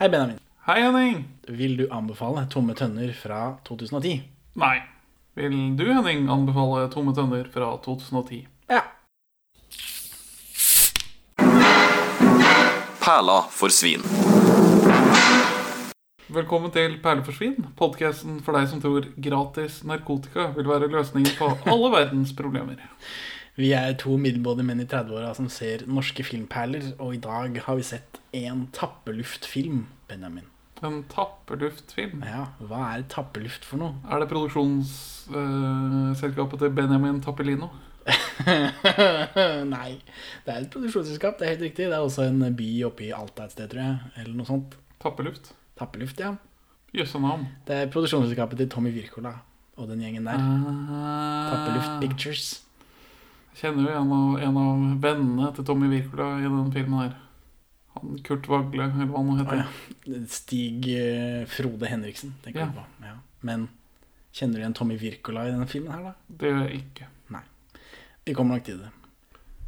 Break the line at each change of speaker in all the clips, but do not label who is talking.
Hei, Benjamin.
Hei, Henning.
Vil du anbefale Tomme tønner fra 2010?
Nei. Vil du, Henning, anbefale Tomme tønner fra 2010?
Ja.
Perla for svin.
Velkommen til Perleforsvin, podkasten for deg som tror gratis narkotika vil være løsningen på alle verdens problemer.
Vi er to middelmådige menn i 30-åra som ser norske filmperler, og i dag har vi sett en tappeluftfilm, Benjamin.
En tappeluftfilm.
Ja, hva er tappeluft for noe?
Er det produksjonsselskapet til Benjamin Tappelino?
Nei, det er et produksjonsselskap, det er helt riktig. Det er også en by oppe i Alta et sted, tror jeg, eller noe sånt.
Tappeluft?
Tappeluft, ja.
Jøsse navn. Eh,
Det er produksjonsselskapet til Tommy Wirkola og den gjengen der. Tappeluft
Tappeluft.
Pictures.
Kjenner jo en av, en av vennene til Tommy Wirkola i den filmen her. Han Kurt Vagle, eller hva han nå
Å,
heter.
ja. Stig eh, Frode Henriksen, tenker
Ja.
jeg på. Ja. Men kjenner du igjen Tommy Wirkola i denne filmen her, da?
Det gjør jeg ikke.
Vi kommer nok til det.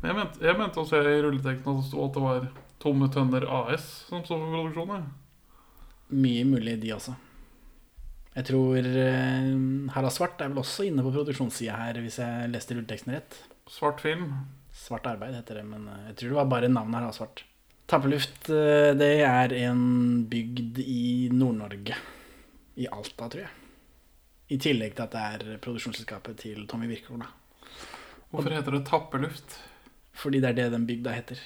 Men Jeg mente, jeg mente å se i rulleteksten at det sto at det var Tomme Tønner AS som sto for produksjonen.
Mye mulig de også. Jeg tror eh, Harald Svart er vel også inne på produksjonssida her, hvis jeg leste rulleteksten rett.
ja. Svart film.
Svart arbeid heter det, men eh, jeg tror det var bare navnet Harald Svart. Tappeluft, eh, det er en bygd i Nord-Norge. I Alta, tror jeg. I tillegg til at det er produksjonsselskapet til Tommy Wirkola.
Hvorfor heter det tappeluft?
Fordi det er det den bygda heter.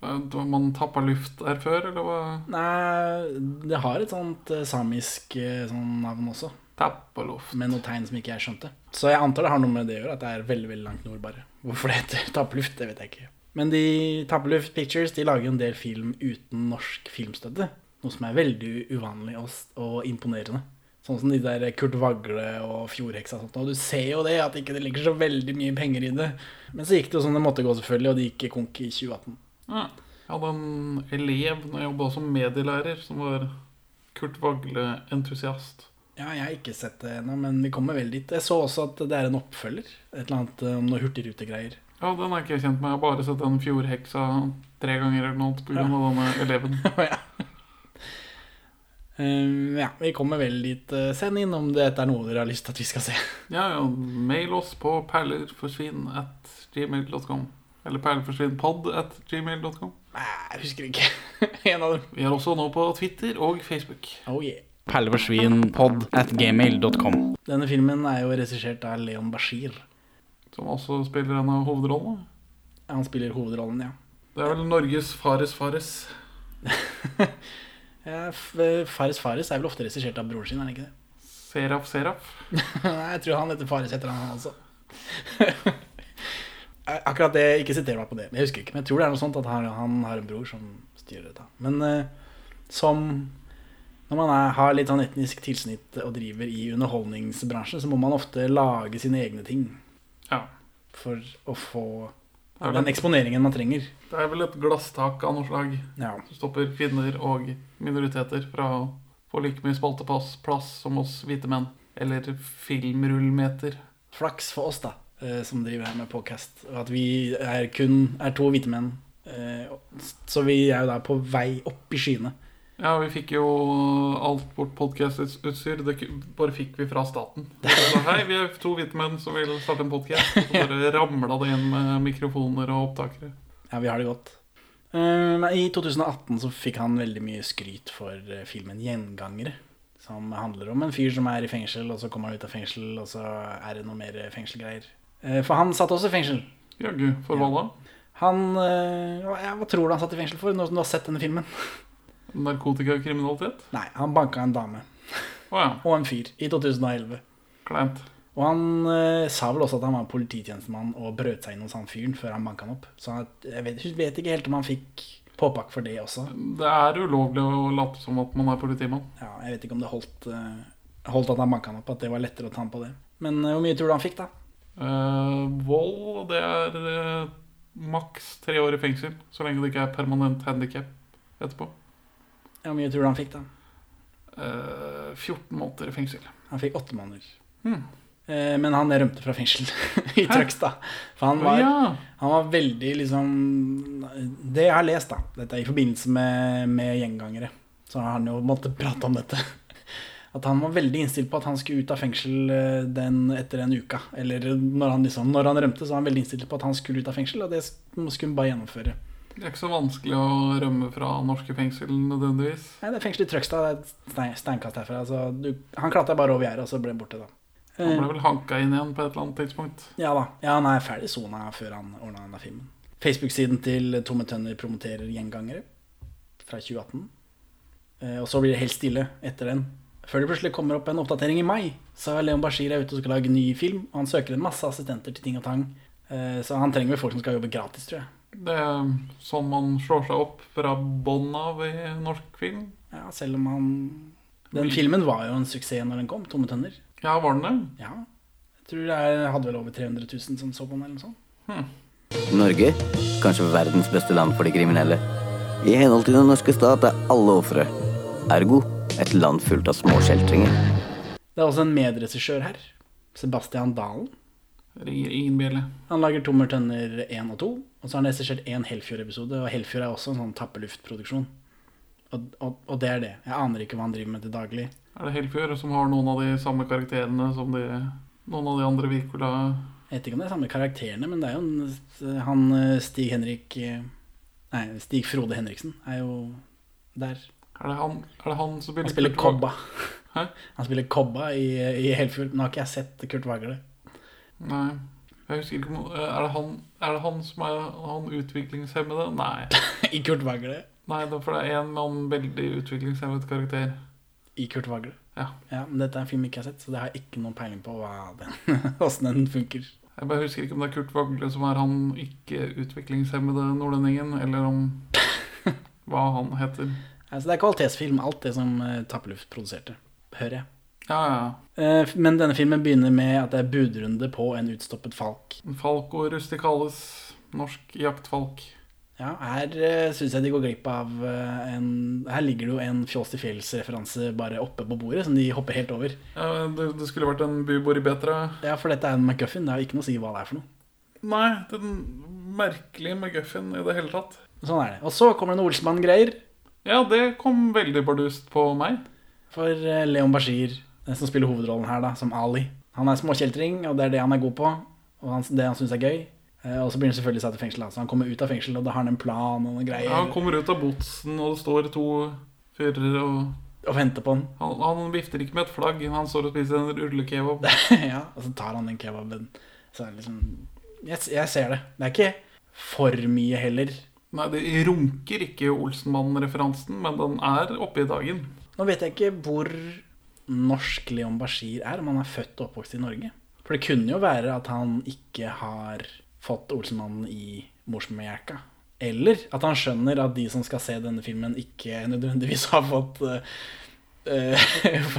Hva- Man tappa luft der før, eller hva?
Nei, det har et sånt eh, samisk eh, sånn navn også.
Tappa luft.
Med noen tegn som ikke jeg skjønte. Så jeg antar det har noe med det å gjøre, at det er veldig veldig langt nord, bare. Hvorfor det heter Tappeluft, det vet jeg ikke. Men de Tappeluft Pictures de lager jo en del film uten norsk filmstøtte. Noe som er veldig uvanlig og, s- og imponerende. Sånn som de der Kurt Vagle og Fjordheksa og sånt. Og du ser jo det, at ikke det ligger så veldig mye penger i det. Men så gikk det jo som det måtte gå, selvfølgelig, og det gikk konk i 2018.
Ja. Jeg hadde en elev når jeg jobba som medielærer, som var Kurt Vagle-entusiast.
Ja, jeg har ikke sett det ennå, men vi kommer vel dit. Jeg så også at det er en oppfølger. Et eller annet eh, om noe hurtigrutegreier.
Ja, den er ikke jeg kjent med. Jeg har bare sett den fjordheksa tre ganger eller noe pga.
Ja.
av denne eleven.
ja. Eh, ja, vi kommer vel dit. eh, Send inn om dette er noe dere har lyst til at vi skal se.
Ja, ja, mail oss på perlerforsvinn at gmail.com. Eller perleforsvinnpod at gmail.com.
Nei, jeg husker ikke. en av dem.
Vi er også nå på Twitter og Facebook.
Oh yeah.
perleforsvinpod at gmail.com.
Denne filmen er jo regissert av Leon Bashir.
Som også spiller en av hovedrollene.
Han spiller hovedrollen, ja.
Det er vel Norges Fares Fares.
ja F- eh, Fares Fares er vel ofte regissert av broren sin, er han ikke det?
Seraf Seraf.
Nei, jeg tror han heter Fares etter han også. Eh, Akkurat det, ikke siter meg på det. Jeg husker ikke, men jeg tror det er noe sånt at han, han har en bror som styrer dette. Men eh, som når man er, har litt sånn etnisk tilsnitt og driver i underholdningsbransjen, så må man ofte lage sine egne ting
Ja.
for å få
Det er,
den
vel,
eksponeringen man trenger.
det er vel et glasstak av noe slag.
Ja.
som stopper kvinner og minoriteter fra å få like mye spaltepass plass som oss hvite menn. Eller filmrullmeter.
Flaks for oss, da, eh, som driver her med podcast. og At vi er kun er to hvite menn. eh, Så vi er jo da på vei opp i skyene.
Ja, vi fikk jo alt vårt podkastutstyr. Det ku- bare fikk vi fra staten. Så, Hei, vi er to hvite menn som vil starte en podkast. Så bare ramla det inn med mikrofoner og opptakere.
Ja, vi har det godt. Eh, Men I 2018 så fikk han veldig mye skryt for eh, filmen 'Gjengangere'. Som handler om en fyr som er i fengsel, og så kommer han ut av fengsel, og så er det noe mer eh, fengselgreier. Eh, For han satt også i fengsel.
Jaggu, for hva da?
Han eh, hva- ja, Hva tror du han satt i fengsel for, nå som du har sett denne filmen?
Narkotikakriminalitet?
Nei, han banka en dame
Å ja.
og en fyr i 2011.
Kleint.
Og han eh, sa vel også at han var polititjenestemann og brøt seg inn hos han fyren før han banka han opp. Så han, jeg vet, jeg vet ikke helt om han fikk påpakk for det også.
Det er ulovlig å late som at man er politimann.
Ja, jeg vet ikke om det holdt, eh, holdt at han banka han opp, at det var lettere å ta han på det. Men eh, hvor mye tror du han fikk, da?
Eh, vold, det er eh, maks tre år i fengsel. Så lenge det ikke er permanent handikap etterpå.
Ja, Hvor mye tror du han fikk, da?
Eh, 14 måneder i fengsel.
Han fikk åtte måneder.
Hmm.
Eh, Men han rømte fra fengsel i Trøgstad. For han var,
ja,
han var veldig liksom Det jeg har lest, da, dette er i forbindelse med, med gjengangere, så har han jo måttet prate om dette. At han var veldig innstilt på at han skulle ut av fengsel eh, den etter en uke. Eller når han, liksom, når han rømte, så var han veldig innstilt på at han skulle ut av fengsel, og det skulle han bare gjennomføre.
Det er ikke så vanskelig å rømme fra norske fengsel nødvendigvis.
Nei, det er fengsel i Trøgstad, det er et stein, steinkast herfra. Så du, han klatra bare over gjerdet, og så ble han borte, da.
Han
Eh,
ble vel hanka inn igjen på et eller annet tidspunkt.
Ja da. Ja, han er ferdig sona før han ordna denne filmen. Facebook-siden til Tomme Tønner promoterer gjengangere fra 2018. Eh, Og så blir det helt stille etter den. Før det plutselig kommer opp en oppdatering i mai, så er Leon Bashir er ute og skal lage ny film. Og han søker en masse assistenter til ting og tang. Eh, Så han trenger vel folk som skal jobbe gratis, tror jeg.
Det er sånn man slår seg opp fra bånn av i norsk film.
Ja, selv om han Den filmen var jo en suksess når den kom, Tomme Tønner.
Ja, var den det?
Ja. Jeg tror det er- hadde vel over 300 000 som så på den, eller noe sånt.
Norge, kanskje verdens beste land for de kriminelle. I henhold til den norske stat er alle ofre. Ergo et land fullt av små skjeltringer.
Det er også en medregissør her. Sebastian Dalen.
Ringer ingen bjelle.
Han lager Tommer Tønner 1 og 2, og så har han regissert én Helfjord-episode. Og Helfjord er også en sånn tappeluftproduksjon. Og, og, og det er det. Jeg aner ikke hva han driver med til daglig.
Er det Helfjord som har noen av de samme karakterene som de, noen av de andre Wirkola
Jeg vet ikke om det er samme karakterene, men det er jo en, han eh, Stig Henrik eh, Nei, Stig Frode Henriksen er jo der.
Er det han, er det han som spiller,
Han spiller
Kurt Vag-
Kobba.
Hæ?
Han spiller Kobba i, i Helfjord. Men har ikke jeg sett Kurt Vagle.
Nei. Jeg husker ikke om eh, Er det han, er det han som er han utviklingshemmede? Nei.
I Kurt Vagle.
Nei, det er for det er en med han veldig utviklingshemmet karakter.
I Kurt Vagle.
Ja.
Ja, men dette er en film jeg ikke har sett, så det har jeg ikke noen peiling på hva den- åssen den funker.
Jeg bare husker ikke om det er Kurt Vagle som er han ikke-utviklingshemmede nordlendingen, eller om hva han heter.
Altså, det er kvalitetsfilm, alt det som eh, Tappeluft produserte, hører jeg.
Ja, ja.
Eh, Men denne filmen begynner med at det er budrunde på en utstoppet falk.
En Falk og rusticalis. Norsk jaktfalk.
Ja, Her syns jeg de går glipp av eh, en Her ligger det jo en Fjols til fjells-referanse bare oppe på bordet, som de hopper helt over.
Ja, det, det skulle vært en bubor i Betra.
Ja, For dette er en McGuffin, det har ikke noe å si hva det er for noe.
Nei, den merkelige McGuffin i det hele tatt.
Sånn er det. Og så kommer det noe Olsmann-greier.
Ja, det kom veldig bardust på meg.
For eh, Leon Bashir, eh, som spiller hovedrollen her, da, som Ali. Han er småkjeltring, og det er det han er god på. Og han, det han syns er gøy. Eh, Og så blir han selvfølgelig satt i fengsel. da. Så han kommer ut av fengsel, og da har han en plan og noen greier.
Ja, han kommer ut av botsen, og det står to fyrer og
Og venter på den.
han, han vifter ikke med et flagg, han står og spiser en rullekebab.
ja, og så tar han den kebaben. Så er det liksom jeg, jeg ser det. Det er ikke for mye heller.
Nei, det runker ikke Olsenmann-referansen, men den er oppe i dagen.
Nå vet jeg ikke hvor norsk Leon Bashir er, om han er født og oppvokst i Norge. For det kunne jo være at han ikke har fått Olsenmannen i morsmelka. Eller at han skjønner at de som skal se denne filmen, ikke nødvendigvis har fått eh, eh,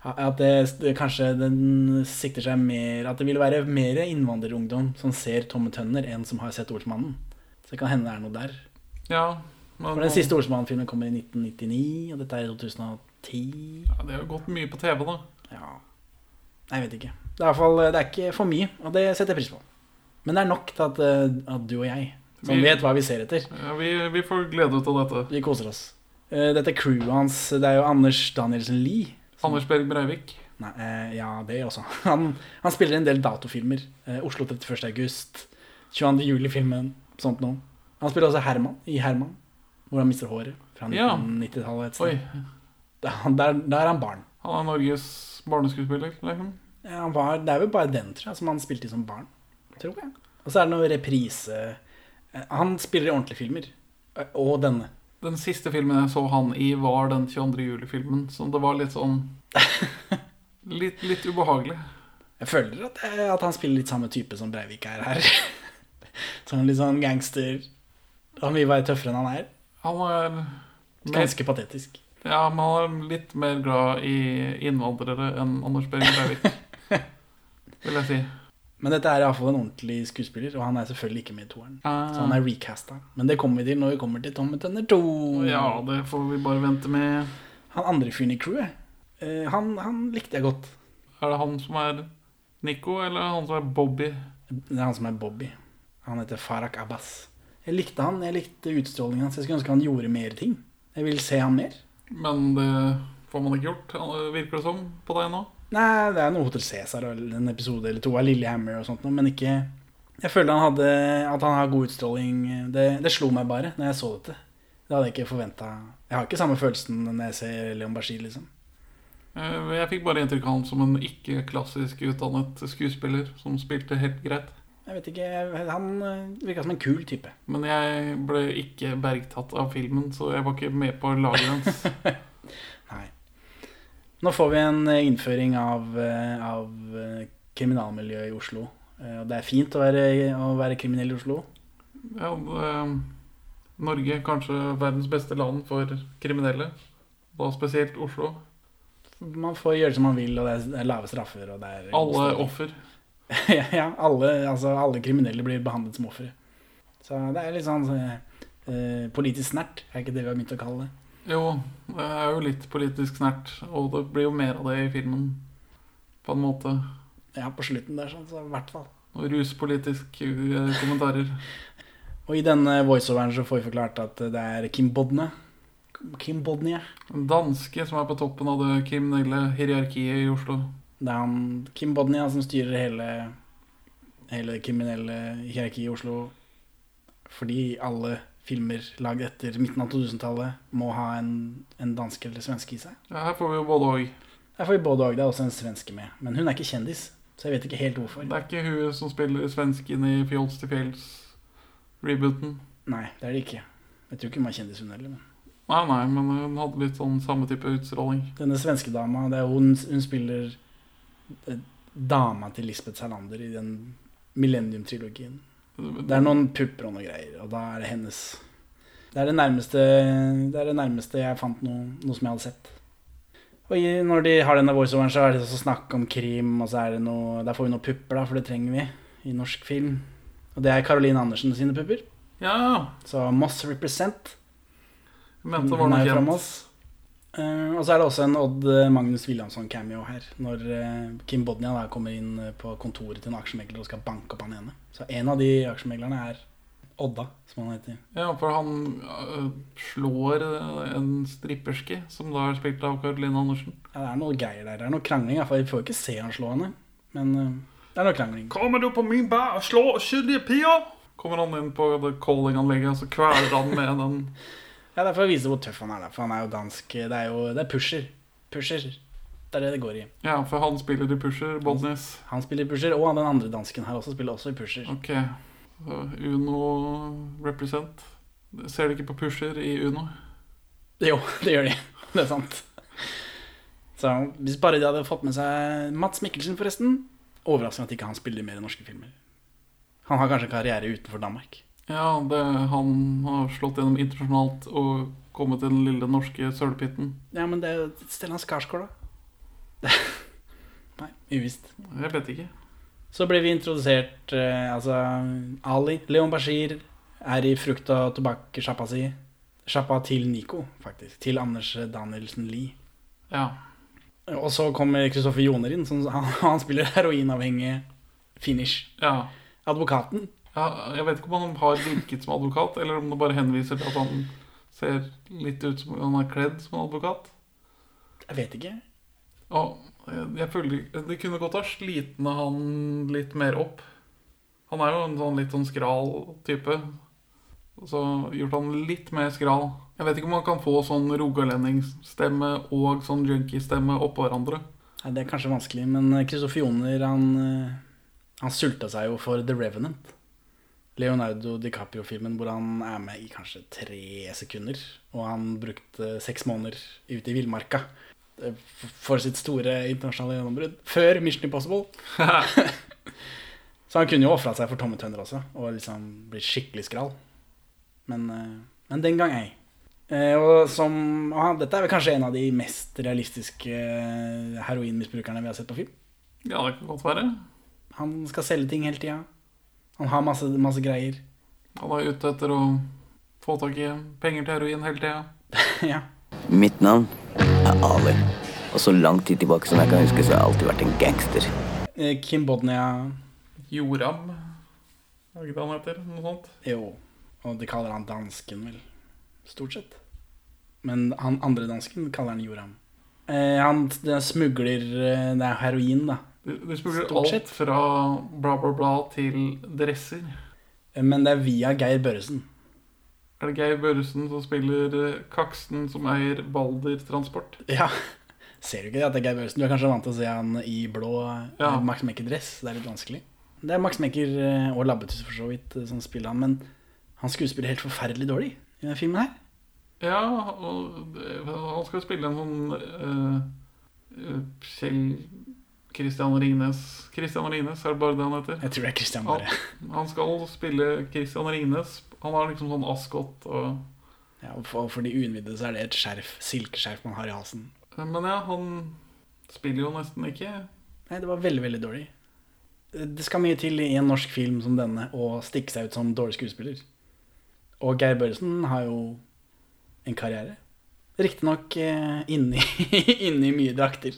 At det, det kanskje den sikter seg mer At det vil være mer innvandrerungdom som ser Tomme Tønner, enn som har sett Olsenmannen. Så det kan hende det er noe der.
Ja, men
For den siste Olsenmannen-filmen kommer i 1999, og dette er i 2010.
ja, Det har jo gått mye på TV, da.
Ja Nei, Jeg vet ikke. Det er, i hvert fall, eh, det er ikke for mye, og det setter jeg pris på. Men det er nok til at, eh, at du og jeg, som
Vi-
vet hva vi ser etter,
Ja, vi, vi får glede ut av dette.
vi koser oss. Eh, Dette crewet hans Det er jo Anders Danielsen Lie.
Anders Berg Breivik.
Nei, eh, ja, det også. Han, han spiller en del datofilmer. Eh, Oslo 31. august, 22. juli-filmen, sånt noe. Han spiller også Herman i Herman, hvor han mister håret fra
Ja.
1990-tallet et
Oi.
sted. Der, der er han barn.
Han er Norges barneskuespiller, liksom.
Ja, han var, det er vel bare den, tror jeg, som han spilte i som barn. Tror jeg. Og så er det noe reprise Eh, Han spiller i ordentlige filmer. Eh, Og denne.
Den siste filmen jeg så han i, var den 22. juli-filmen. Så det var litt sånn Litt, litt ubehagelig.
Jeg føler at, eh, at han spiller litt samme type som Breivik er her. sånn litt sånn gangster. Han vil være tøffere enn han er.
Han er mer,
Ganske patetisk.
ja, men han er litt mer glad i innvandrere enn Anders Berg Breivik. Vil jeg si.
Men dette er iallfall en ordentlig skuespiller, og han er selvfølgelig ikke med i toeren.
Ah.
Så han er recasta. Men det kommer vi til når vi kommer til Tommy Tønner 2.
Eh, ja, det får vi bare vente med.
Han andre fyren i crewet, eh, han, han likte jeg godt.
Er det han som er Nico, eller er det han som er Bobby?
Det er han som er Bobby. Han heter Farak Abbas. Jeg likte han, jeg likte utstrålingen hans. Jeg skulle ønske han gjorde mer ting. Jeg vil se han mer.
Men det får man ikke gjort, eh, virker det som, på deg nå.
Nei, det er noe Hotel Cæsar og en episode eller to av Lillehammer og sånt, noe, men ikke Jeg føler han hadde at han har god utstråling. Det, det slo meg bare når jeg så dette. Det hadde jeg ikke forventa. Jeg har ikke samme følelsen når jeg ser Leon Bashir, liksom.
Eh, Jeg fikk bare inntrykk av han som en ikke-klassisk utdannet skuespiller som spilte helt greit.
Jeg vet ikke, jeg- Han virka som en kul type.
Men jeg ble ikke bergtatt av filmen, så jeg var ikke med på laget hans.
Nei. Nå får vi en eh, innføring av, eh, av eh, kriminalmiljøet i Oslo. Eh, Og det er fint å være, å være kriminell i Oslo.
Ja, det- ehm, Norge, kanskje verdens beste land for kriminelle. Da spesielt Oslo.
Man får gjøre som man vil, og det er- det er lave straffer. Og det er
Alle offer.
ja, ja, alle, altså, alle kriminelle blir behandlet som ofre. Så det er litt sånn eh, politisk snert, er ikke det vi har begynt å kalle det.
Jo, det er jo litt politisk snert, og det blir jo mer av det i filmen. På en måte.
Ja, på slutten der, sånn, så i hvert fall.
Og ruspolitiske eh, kommentarer.
Og i denne voiceoveren så får vi forklart at det er Kim Bodne. Kim Bodnia.
En danske som er på toppen av det kriminelle hierarkiet i Oslo.
Det er han Kim Bodnia som styrer hele, hele det kriminelle hierarkiet i Oslo. Fordi alle filmer lagd etter midten av 2000-tallet må ha en, en danske eller svenske i seg.
Ja, her får vi jo både og.
Der får vi både og. Det er også en svenske med. Men hun er ikke kjendis, så jeg vet ikke helt hvorfor.
Det er ikke hun som spiller svensken i Fjols til fjells-rebooten.
Nei, det er det ikke. Jeg tror ikke hun var kjendis, hun heller. Men.
Nei, nei, men hun hadde litt sånn samme type utstråling.
Denne svenskedama, det er hun, hun spiller eh, dama til Lisbeth Salander i den Millennium-trilogien. Det er noen pupper og noe greier, og da er det hennes Det er det nærmeste, det er det nærmeste jeg fant noe, noe som jeg hadde sett. Og i- når de har denne voiceoveren, så er det også snakk om krim, og så er det noe Der får vi noen pupper, da, for det trenger vi i norsk film. Og det er Caroline Andersen sine pupper.
Ja,
Så Moss represent.
jeg mente det var
Hun
noe
er jo fra
kjent.
Moss. Eh, og så er det også en Odd eh, Magnus Williamson-cameo her, når eh, Kim Bodnia da kommer inn eh, på kontoret til en aksjemegler og skal banke opp han ene. Så en av de aksjemeglerne er Odda, som han heter.
Ja, for han øh, slår øh, en stripperske, som da er spilt av Caroline Andersen.
Ja, det er noe greier der. Det er noe krangling. For vi får jo ikke se han slå henne, men eh, det er noe krangling.
Kommer du på min bær og slår skyldige piger? Kommer han inn på det callinganlegget, og så kveler han med den.
Ja, Det er for å vise hvor tøff han er, da. For han er jo dansk. Det er jo det er pusher. Pusher. Det er det det går i.
Ja, for han spiller i Pusher, Bodnes.
Han spiller pusher, og den andre dansken her også spiller også i pusher.
Ok, så Uno represent. Ser du ikke på Pusher i Uno?
Jo, det gjør de. Det er sant. Så Hvis bare de hadde fått med seg Mats Mikkelsen, forresten. Overraskende at ikke han spiller mer i norske filmer. Han har kanskje en karriere utenfor Danmark.
Ja, det, han har slått gjennom internasjonalt og kommet til den lille norske sølepytten.
Ja, men det er jo Stellan Skarsgård, da. Nei, uvisst.
Jeg vet ikke.
Så ble vi introdusert eh, Altså, Ali, Leon Bashir, er i frukt- og tobakkssjappa si. Sjappa til Nico, faktisk. Til Anders Danielsen Lie.
Ja.
Og så kommer Kristoffer Joner inn. Som, han, han spiller heroinavhengig finish.
ja.
Advokaten?
Ja, jeg vet ikke om han har virket som advokat, eller om det bare henviser til at han ser litt ut som han er kledd som en advokat.
Jeg vet ikke.
Og jeg, jeg føler Det kunne godt ha slitna han litt mer opp. Han er jo en sånn litt sånn skral type. Så gjort han litt mer skral. Jeg vet ikke om han kan få sånn rogalendingsstemme og sånn junkiestemme oppå hverandre.
Nei, det er kanskje vanskelig, men Kristoffer Joner han, eh, han sulta seg jo for The Revenant. Leonardo DiCaprio-filmen hvor han er med i kanskje tre sekunder. Og han brukte seks måneder ute i villmarka eh, f- for sitt store internasjonale gjennombrudd. Før Mission Impossible. Så han kunne jo ofra seg for tomme tønner også, og liksom blitt skikkelig skral. Men, eh, men den gang ei. Eh, Og som, og han, dette er vel kanskje en av de mest realistiske eh, heroinmisbrukerne vi har sett på film.
Ja, det kan godt være.
Han skal selge ting hele tida. Han har masse, masse greier.
Han er ute etter å få tak i penger til heroin hele tida.
ja.
Mitt navn er Ali. Og så lang tid tilbake som jeg kan huske, så har jeg alltid vært en gangster.
Eh, Kim Bodnia
Joram, er det ikke det han heter? Noe sånt.
Jo. Og de kaller han dansken, vel. Stort sett. Men han andre dansken kaller han Joram. Eh, han det er smugler eh, Det er heroin, da.
De, de smugler
Stort sett.
alt fra bla, bla, bla til dresser.
Eh, Men det er via Geir Børresen.
Er det Geir Børresen som spiller eh, Kaksen, som eier Balder Transport?
Ja. Ser du ikke det at det er Geir Børresen? Du er kanskje vant til å se han i blå ja.
Ja.
Max Mekker-dress. Det er litt vanskelig. Det er Max Mekker eh, og Labbetuss for så vidt eh, som spiller han, men han skuespiller helt forferdelig dårlig i denne filmen her.
Ja, og det- han skal spille en sånn eh, eh, Kjell Christian Ringnes Christian Ringnes, er det bare det han heter?
Jeg tror det er Christian
Ja.
Bare.
Han skal spille Christian Ringnes. Han har liksom sånn Ascot og
Ja, og for, for de uinnvidde så er det et skjerf, silkeskjerf man har i halsen.
Men ja, han spiller jo nesten ikke.
Nei, det var veldig, veldig dårlig. Eh, Det skal mye til i en norsk film som denne å stikke seg ut som dårlig skuespiller. Og Geir Børresen har jo en karriere. Riktignok eh, inni, inni mye drakter.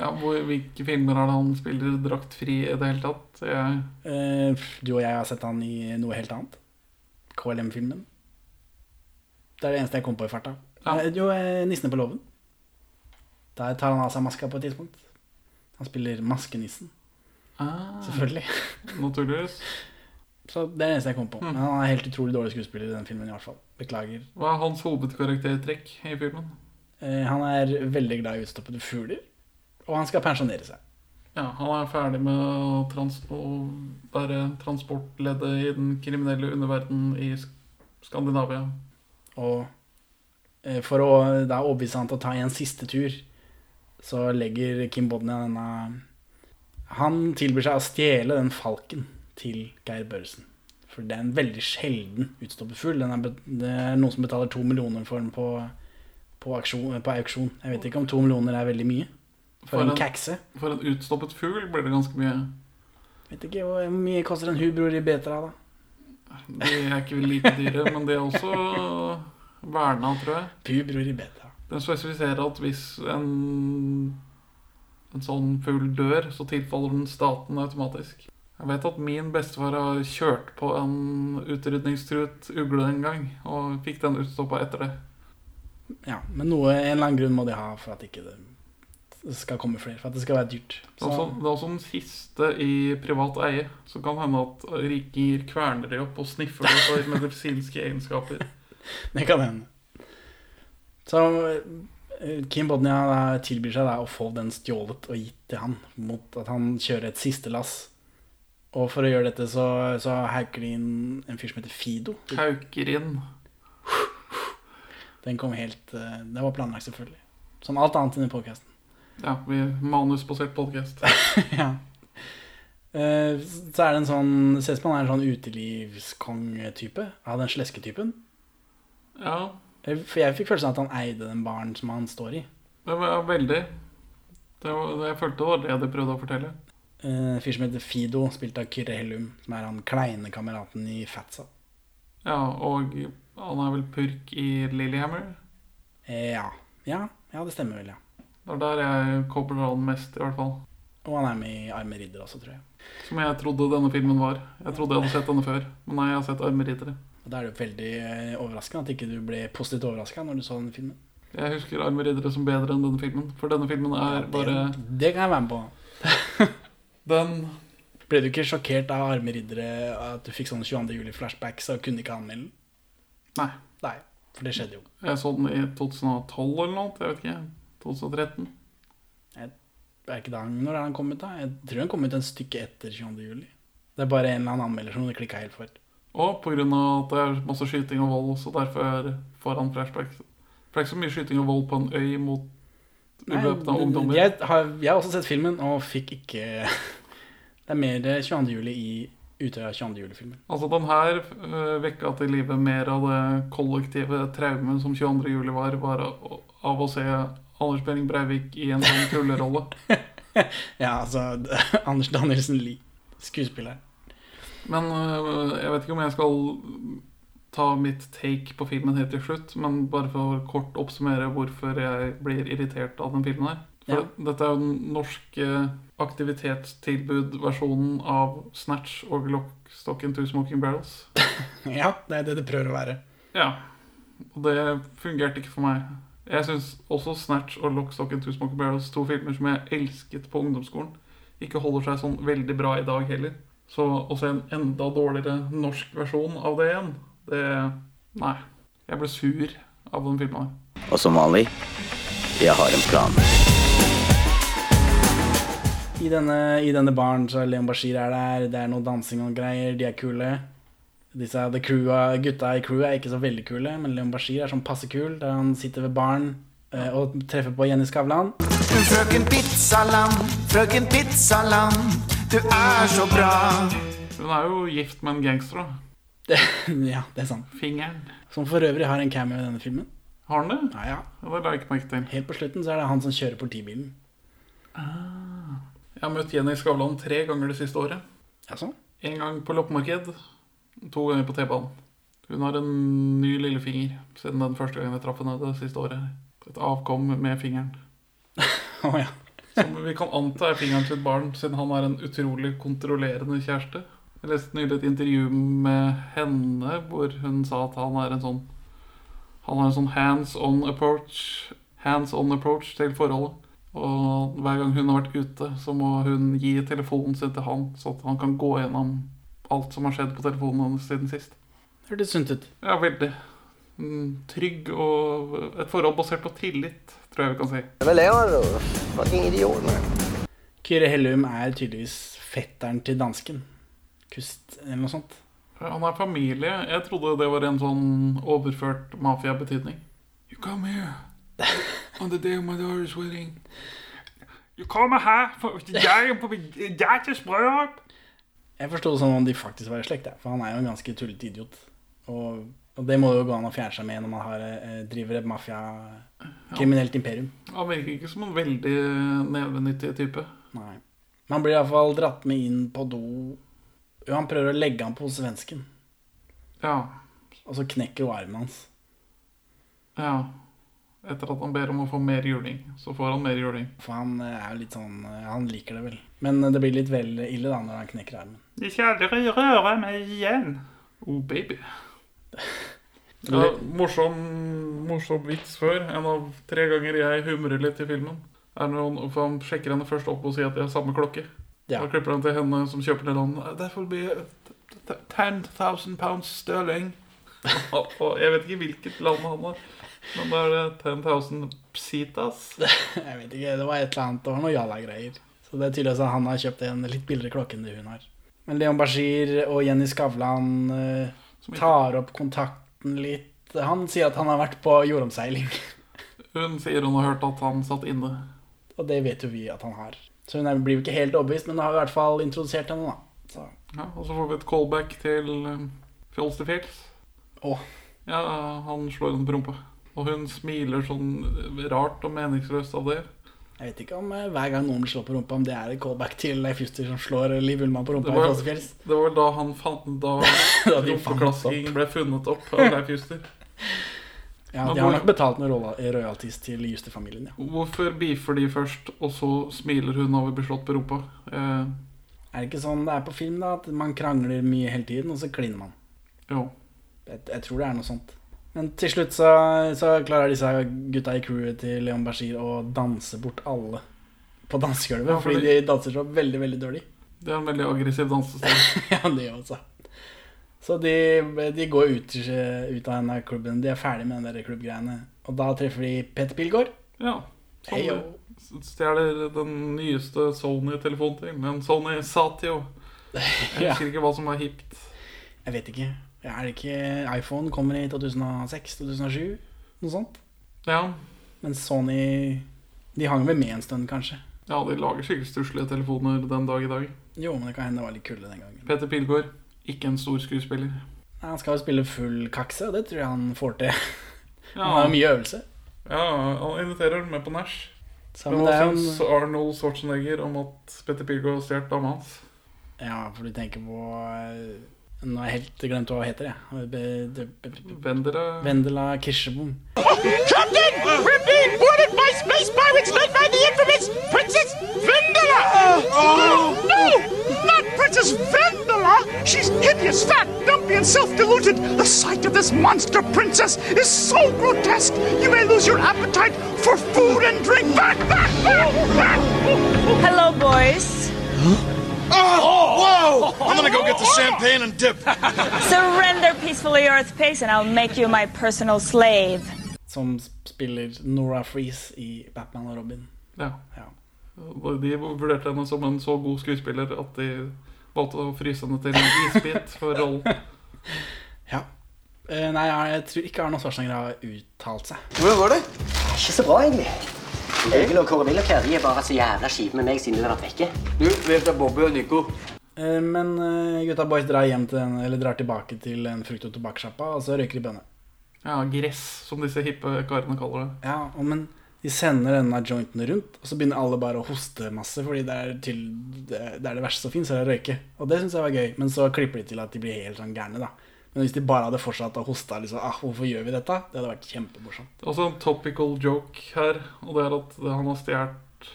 Ja, hvor, Hvilke filmer er det han spiller draktfri i det hele tatt? Jeg,
Eh, du og jeg har sett han i noe helt annet. KLM-filmen. Det er det eneste jeg kom på i farta.
Ja.
Eh, jo, eh, 'Nissene på låven'. Der tar han av seg maska på et tidspunkt. Han spiller Maskenissen,
ah,
selvfølgelig.
Naturligvis.
Så det er det eneste jeg kom på.
Mm.
Men han er helt utrolig dårlig skuespiller i den filmen i hvert fall. Beklager.
Hva er hans hovedkaraktertrekk i filmen?
Eh, han er veldig glad i utstoppede fugler, og han skal pensjonere seg.
Ja, Han er ferdig med å, trans å være transportleddet i den kriminelle underverden i Sk Skandinavia.
Og eh, for å da overbevise han til å ta en siste tur, så legger Kim Bodnia denne Han tilbyr seg å stjele den falken til Geir Børresen. For det er en veldig sjelden utstoppet fugl. Den er bet- Det er noen som betaler to millioner for den på, på, aksjon, på auksjon. Jeg vet ikke om to millioner er veldig mye for en kakse.
for en utstoppet fugl blir det ganske mye.
Vet ikke hvor mye koster en hubro ribetra, da.
De er ikke like dyre, men de er også verna, tror jeg.
Pubro ribetra.
Den spesifiserer at hvis en, en sånn fugl dør, så tilfaller den staten automatisk. Jeg vet at min bestefar har kjørt på en utrydningstruet ugle en gang, og fikk den utstoppa etter det.
Ja, men noe, en eller annen grunn må de ha for at ikke det skal komme flere. For at det skal være dyrt.
Det er, også,
Sånn.
det er også den siste i privat eie. Så kan hende at rikinger kverner de opp og sniffer det for medisinske egenskaper.
det kan hende. Så eh, Kim Bodnia da, tilbyr seg da å få den stjålet og gitt til han, mot at han kjører et siste lass. Og for å gjøre dette så, så hauker de inn en fyr som heter Fido.
Hauker inn.
Den kom helt eh, Det var planlagt, selvfølgelig. Som alt annet i denne podcasten.
Ja, vi manusbasert podkast.
ja. Eh, Så er det en sånn det Ser ut som han er en sånn utelivskong-type. Av den slesketypen.
Ja,
Eh, For jeg fikk følelsen av at han eide den baren som han står i.
det var veldig det var, Jeg følte det var det de prøvde å fortelle.
Eh, En fyr som heter Fido, spilt av Kyrre Hellum, som er han kleine kameraten i Fatsa.
Ja, og han er vel purk i Lillehammer.
Eh, Ja. ja. Ja, det stemmer vel, ja.
Det er der jeg kobler han mest, i hvert fall.
Og han er med i Arme ridder også, tror jeg.
Som jeg trodde denne filmen var. Jeg trodde jeg hadde sett denne før, men nei, jeg har sett Armeriddere.
Og Da er det jo veldig eh, overraskende at ikke du ble positivt overraska når du så den filmen.
Jeg husker Armeriddere som bedre enn denne filmen, for denne filmen er bare
det, det kan jeg være med på.
Den
Ble du ikke sjokkert av Arme riddere, at du fikk sånne 22. juli-flashbacks og kunne ikke anmelde den?
Nei.
Nei, for det skjedde jo.
Jeg så den i 2012 eller noe. Jeg vet ikke. 2013.
Er ikke det han, når er han kommet, da? Jeg tror han kom ut en stykke etter 22. juli. Det er bare en eller annen anmelder som det klikka helt for.
Og pga. at det er masse skyting og vold, så derfor får han flashback. For det er ikke så mye skyting og vold på en øy mot ubevæpna
Nei,
ungdommer.
Jeg har, jeg har også sett filmen, og fikk ikke Det er mer 22. juli i Utøya 22. juli-filmen.
Altså, den her øh, vekka til live mer av det kollektive traumet som 22. juli var, var av- av å se Anders Behring Breivik i en sånn tullerolle.
Ja, altså Anders Danielsen Lie, skuespiller.
Men øh, jeg vet ikke om jeg skal ta mitt take på filmen helt til slutt, men bare for å kort oppsummere hvorfor jeg blir irritert av den filmen her. For
Ja.
dette er jo den norske aktivitetstilbud-versjonen av Snatch og Lockstock and Two Smoking Barrels.
Ja, det er det det prøver å være.
Ja. Og det fungerte ikke for meg. Jeg syns også Snatch og Lockstock and Two Smoking Barrels, to filmer som jeg elsket på ungdomsskolen, ikke holder seg sånn veldig bra i dag heller. Så også en enda dårligere norsk versjon av det igjen, det Nei. Jeg ble sur av den filmen. her.
Og som vanlig, jeg har en plan.
I denne, I denne baren så er Leon Bashir er der, det er noe dansing og greier, de er kule. Disse the crewa, gutta i crewet er ikke så veldig kule, men Leon Bashir er sånn passe kul. Der han sitter ved baren eh, og treffer på Jenny Skavlan.
Frøken Pizzalam, frøken Pizzalam, du er så bra.
Hun er jo gift med en gangster, da.
Det, ja, det er sant.
Fingeren.
Som for øvrig har en cameo i denne filmen.
Har han det?
Ja, ja.
Ja, det la jeg ikke merke til.
Helt på slutten så er det han som kjører politibilen.
Jeg har møtt Jenny Skavlan tre ganger det siste året.
Jaså?
En gang på loppemarked, to ganger på T-banen. Hun har en ny lillefinger siden den første gangen jeg traff henne det siste året. Et avkom med fingeren.
Å ja.
Som vi kan anta er fingeren sitt barn, siden han er en utrolig kontrollerende kjæreste. Jeg leste nylig et intervju med henne hvor hun sa at han er en sånn Han har en sånn hands on approach Hands on approach til forholdet. Og hver gang hun har vært ute, så må hun gi telefonen sin til han, så at han kan gå gjennom alt som har skjedd på telefonen hennes siden sist.
Hørtes sunt ut.
Ja, veldig mm, trygg og et forhold basert på tillit, tror jeg vi kan si.
Kyrre Hellum er tydeligvis fetteren til dansken. Kust eller noe sånt.
Han er familie. Jeg trodde det var en sånn overført mafiabetydning. You come here on the day of my daughter's wedding. You come her for jeg er på min datters bryllup.
Jeg forsto det som om de faktisk var i slekt, jeg, for han er jo en ganske tullete idiot. Og, og det må jo gå an å fjerne seg med når man har, eh, driver et mafia-kriminelt imperium.
Han virker ikke som en veldig nevenyttig type.
Nei. Men han blir iallfall dratt med inn på do. Jo, han prøver å legge han på svensken,
Ja,
og så knekker jo armen hans.
ja. Etter at han ber om å få mer juling, så får han mer juling.
For han eh, er jo litt sånn eh, Han liker det vel. Men eh, det blir litt vel ille da når han knekker armen.
De skal aldri røre meg igjen. Oh, baby. Ja, morsom, morsom vits før. En av tre ganger jeg humrer litt i filmen. Er når han, for han sjekker henne først opp og sier at de har samme klokke.
Ja.
Da klipper han til henne som kjøper den. og han, That will be t- t- 10,000 pounds sterling. Og- og jeg vet ikke hvilket land han har, men da er det 10,000 psitas.
Jeg vet ikke, det var et eller annet, det var noe jalla-greier. Så det er tydeligvis at han har kjøpt en litt billigere klokke enn det hun har. Men Leon Bashir og Jenny Skavlan eh,
Som ikke-
tar opp kontakten litt. Han sier at han har vært på jordomseiling,
Hun sier hun har hørt at han satt inne.
og det vet jo vi at han har. Så hun er- blir jo ikke helt overbevist, men har i hvert fall introdusert henne, da. Så,
Ja, og så får vi et callback til um, Fjols til fjells.
Åh.
Ja, han slår henne på rumpa. Og hun smiler sånn rart og meningsløst av det.
jeg vet ikke om eh, hver gang noen blir slått på rumpa, om det er et callback til Leif Juster som slår Liv Ullmann på rumpa
Det var-
i Fossefjells.
Det var vel da han fant Da
Da de fant opp.
rumpeklaskingen ble funnet opp av Leif Juster.
Ja,
Men
de har
hvor-
nok betalt noen royal- royalties til Juster-familien, ja.
Hvorfor beefer de først, og så smiler hun av å bli slått på rumpa? Eh,
Er det ikke sånn det er på film, da? At man krangler mye hele tiden, og så kliner man.
jo.
Jeg, jeg tror det er noe sånt. Men til slutt så, så klarer disse gutta i crewet til Leon Bashir å danse bort alle på dansegulvet.
Ja, fordi-
fordi de danser så veldig, veldig dårlig.
Det er en veldig aggressiv dansestil.
ja, det gjør også. Så de, de går ut, ut av denne klubben. De er ferdig med den der klubbgreiene. Og da treffer de Petter Pilgaard.
Ja. som
Heyo.
Stjeler den nyeste Sony-telefonen til. En Sony Satio. Jeg
Ja.
husker ikke hva som var hipt.
Jeg vet ikke. Er det ikke iPhone kommer i 2006-2007? Noe sånt.
Ja,
Men Sony De hang vel med en stund, kanskje.
Ja, de lager sikkert stusslige telefoner den dag i dag.
Jo, men det kan hende det var litt kulde den gangen.
Peter Pilgaard, ikke en stor skuespiller.
Nei, Han skal jo spille full kakse, og det tror jeg han får til. Han har
Ja,
jo mye øvelse.
ja han inviterer med på nach.
Så
Men
det er
hva
jo en-
syns Arnold Schwarzenegger om at Petter Pilgaard stjal dama hans?
Ja, for du tenker på eh, Nå har jeg helt glemt hva hun heter, jeg. Be- de- be- be-
Vendere
Vendela Kirsebom.
Captain! We're being boarded by space pirates led by the infamous Princess Vendela! No! Not Princess Vendela! She's hideous, fat, dumpy, and self-deluded. The sight of the this monster princess is so grotesque, you may lose your appetite for food and drink. Back, back, back, back.
Hello, boys.
Oh, I'm gonna go get the champagne and dip.
Surrender peacefully, Earth Pace, and I'll make you my personal slave.
Som spiller Nora Freeze i Batman og Robin.
Ja.
Ja.
De vurderte henne som en så god skuespiller at de valgte å fryse henne til en isbit for rollen.
ja. Eh, nei, jeg tror ikke Arne Svarsanger har uttalt seg.
Hvordan var det?
Ikke så bra, egentlig. Egil og Kåre Willoch her, de er bare så jævla kjipe med meg siden du har vært vekke.
Du, vet du Bobby og Nico?
Eh, men eh, gutta boys drar, hjem til en, eller drar tilbake til en frukt- og tobakkssjappa, og så røyker de bønner.
Ja, gress, som disse hippe karene kaller det.
Ja, og men de sender denne jointen rundt, og så begynner alle bare å hoste masse, fordi det er, til, det, det, er det verste som fins, er å røyke. Og det syns jeg var gøy, men så klipper de til at de blir helt sånn gærne, da. Men hvis de bare hadde fortsatt å hoste, liksom, ah, hvorfor gjør vi dette? Det hadde vært kjempemorsomt.
Det er også en topical joke her, og det er at han har stjålet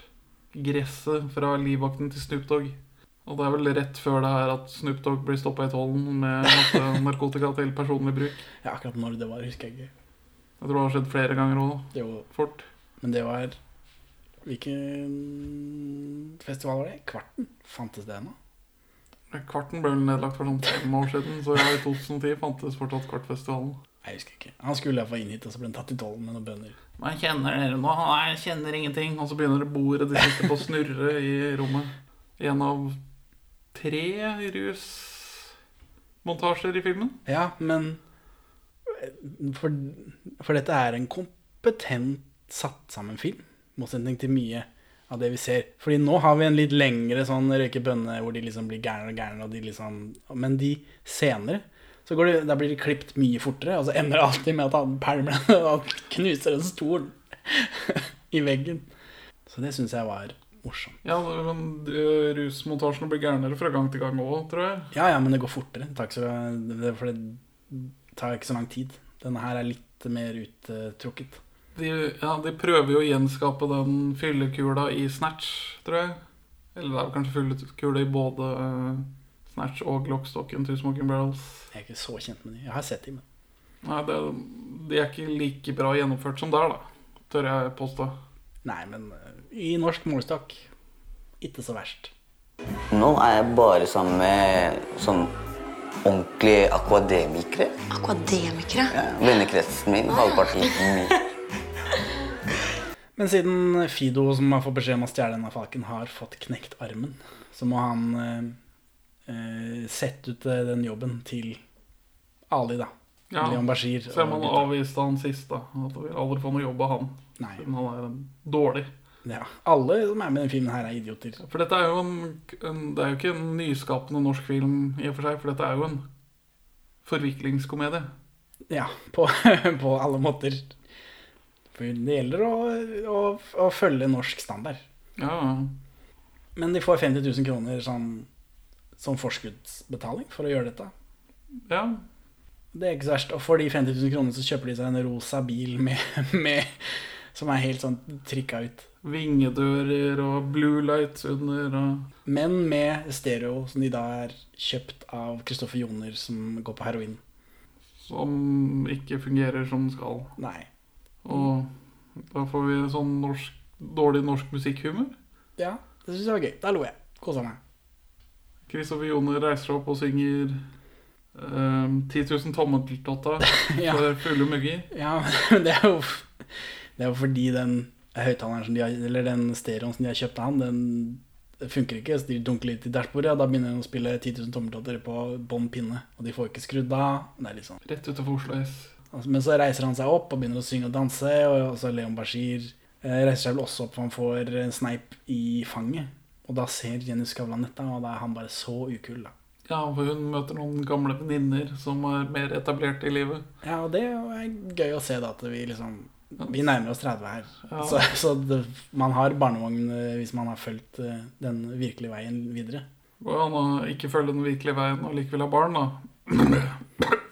gresset fra livvakten til Snoop Dogg. Og det er vel rett før det her at Snoop Dogg blir stoppa i tollen med masse narkotika til personlig bruk.
Ja, akkurat når det var, husker jeg ikke.
Jeg tror det har skjedd flere ganger òg,
Jo,
fort.
men det var Hvilken festival var det? Kvarten? Fantes det ennå?
Kvarten ble vel nedlagt for sånn fem år siden, så ja, i 2010 fantes fortsatt Kvartfestivalen.
Nei, Jeg husker ikke. Han skulle iallfall inn hit, og så ble han tatt i tollen med noen bønner.
Men kjenner dere noe? Nei, jeg kjenner ingenting. Og så begynner bordet de sitter på å snurre i rommet. En av tre rusmontasjer i filmen.
Ja, men eh, for, for dette er en kompetent satt sammen film, i motsetning til mye av det vi ser. Fordi nå har vi en litt lengre sånn røyke bønne hvor de liksom blir gærnere og gærnere, og de liksom Men de senere så går det, der blir de klippet mye fortere, og så ender det alltid med at han pælmer den, og han knuser en stol i veggen. Så det syns jeg var morsomt.
Ja, men eh, rusmontasjene blir gærnere fra gang til gang òg, tror jeg.
Ja, ja, men det går fortere. Takk så, det, for det tar ikke så lang tid. Denne her er litt mer uttrukket.
De, ja, de prøver jo å gjenskape den fyllekula i Snatch, tror jeg. Eller det er vel kanskje fyllekule i både eh, Snatch og Glockstocken til Smoking Barrels.
Jeg er ikke så kjent med de. Jeg har sett dem. men-
Nei, det, De er ikke like bra gjennomført som der, da, tør jeg påstå.
Nei, men eh, i norsk målestokk ikke så verst.
Nå er jeg bare sammen med sånn ordentlige akademikere.
Akademikere.
Vennekretsen min, halvparten min.
Men siden Fido, som har fått beskjed om å stjele denne falken, har fått knekt armen, så må han eh, eh, sette ut eh, den jobben til Ali, da.
Ja,
Leon Bashir.
Så er man
og-
avviste han sist, da. At vi aldri får noe jobb av han.
Nei.
Men han er dårlig.
Ja. Alle som er med i den filmen her, er idioter.
For dette er jo en, en Det er jo ikke en nyskapende norsk film i og for seg, for dette er jo en forviklingskomedie.
Ja, på, på alle måter. For det gjelder å, å, å følge norsk standard.
Ja,
Men de får 50 000 kroner som, som forskuddsbetaling for å gjøre dette.
ja.
Det er ikke så verst. Og for de 50 000 kronene så kjøper de seg en rosa bil med, med, som er helt sånn trikka ut.
Vingedører og blue lights under og
Men med stereo, som de da er kjøpt av Kristoffer Joner, som går på heroin.
Som ikke fungerer som den skal.
Nei.
Og da får vi sånn norsk, dårlig norsk musikkhumor.
Ja, det syns jeg var gøy. Da lo jeg. Kosa meg.
Kristoffer Joner reiser seg opp og synger eh, 10 000 tommeltotter
Ja.
for fulle mugger.
Ja, men det er jo, det er jo fordi den høyttaleren som de har, eller den stereoen som de har kjøpt av han, den funker ikke. Så de dunker litt i dashbordet, og da begynner de å spille 10 000 tommeltotter på bånn pinne. Og de får ikke skrudd av. Det er litt sånn.
Rett utenfor Oslo S.
Altså, Men så reiser han seg opp og begynner å synge og danse, og så Leon Bashir eh, reiser seg vel også opp, for han får en sneip i fanget. Og da ser Jenny Skavlan dette, og da er han bare så ukul, da.
Ja, for hun møter noen gamle venninner som er mer etablert i livet.
Ja, og det er gøy å se da at vi liksom Vi nærmer oss 30 her. Så, så det, man har barnevogn eh, hvis man har fulgt eh, den virkelige veien videre.
Og han har ikke følger den virkelige veien og likevel har barn, da.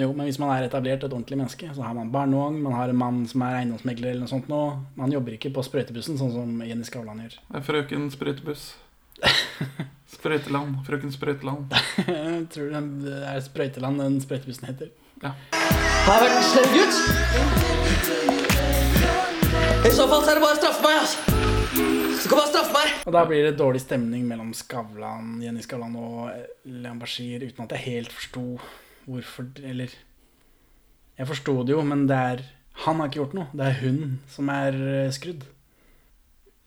Jo, men hvis man er etablert et ordentlig menneske, så har man barnevogn, man har en mann som er eiendomsmegler eller noe sånt nå. Man jobber ikke på sprøytebussen sånn som Jenny Skavlan gjør.
Det er frøken Sprøytebuss. Sprøyteland. Frøken Sprøyteland.
Jeg tror den- det er Sprøyteland den sprøytebussen heter.
Har jeg vært en slem gutt? I så fall så er det bare å straffe meg, altså. Du kan bare straffe meg.
Og da blir det dårlig stemning mellom Skavlan, Jenny Skavlan og Leon Bashir, uten at jeg helt forsto hvorfor Eller Jeg forsto det jo, men det er Han har ikke gjort noe. Det er hun som er eh, skrudd.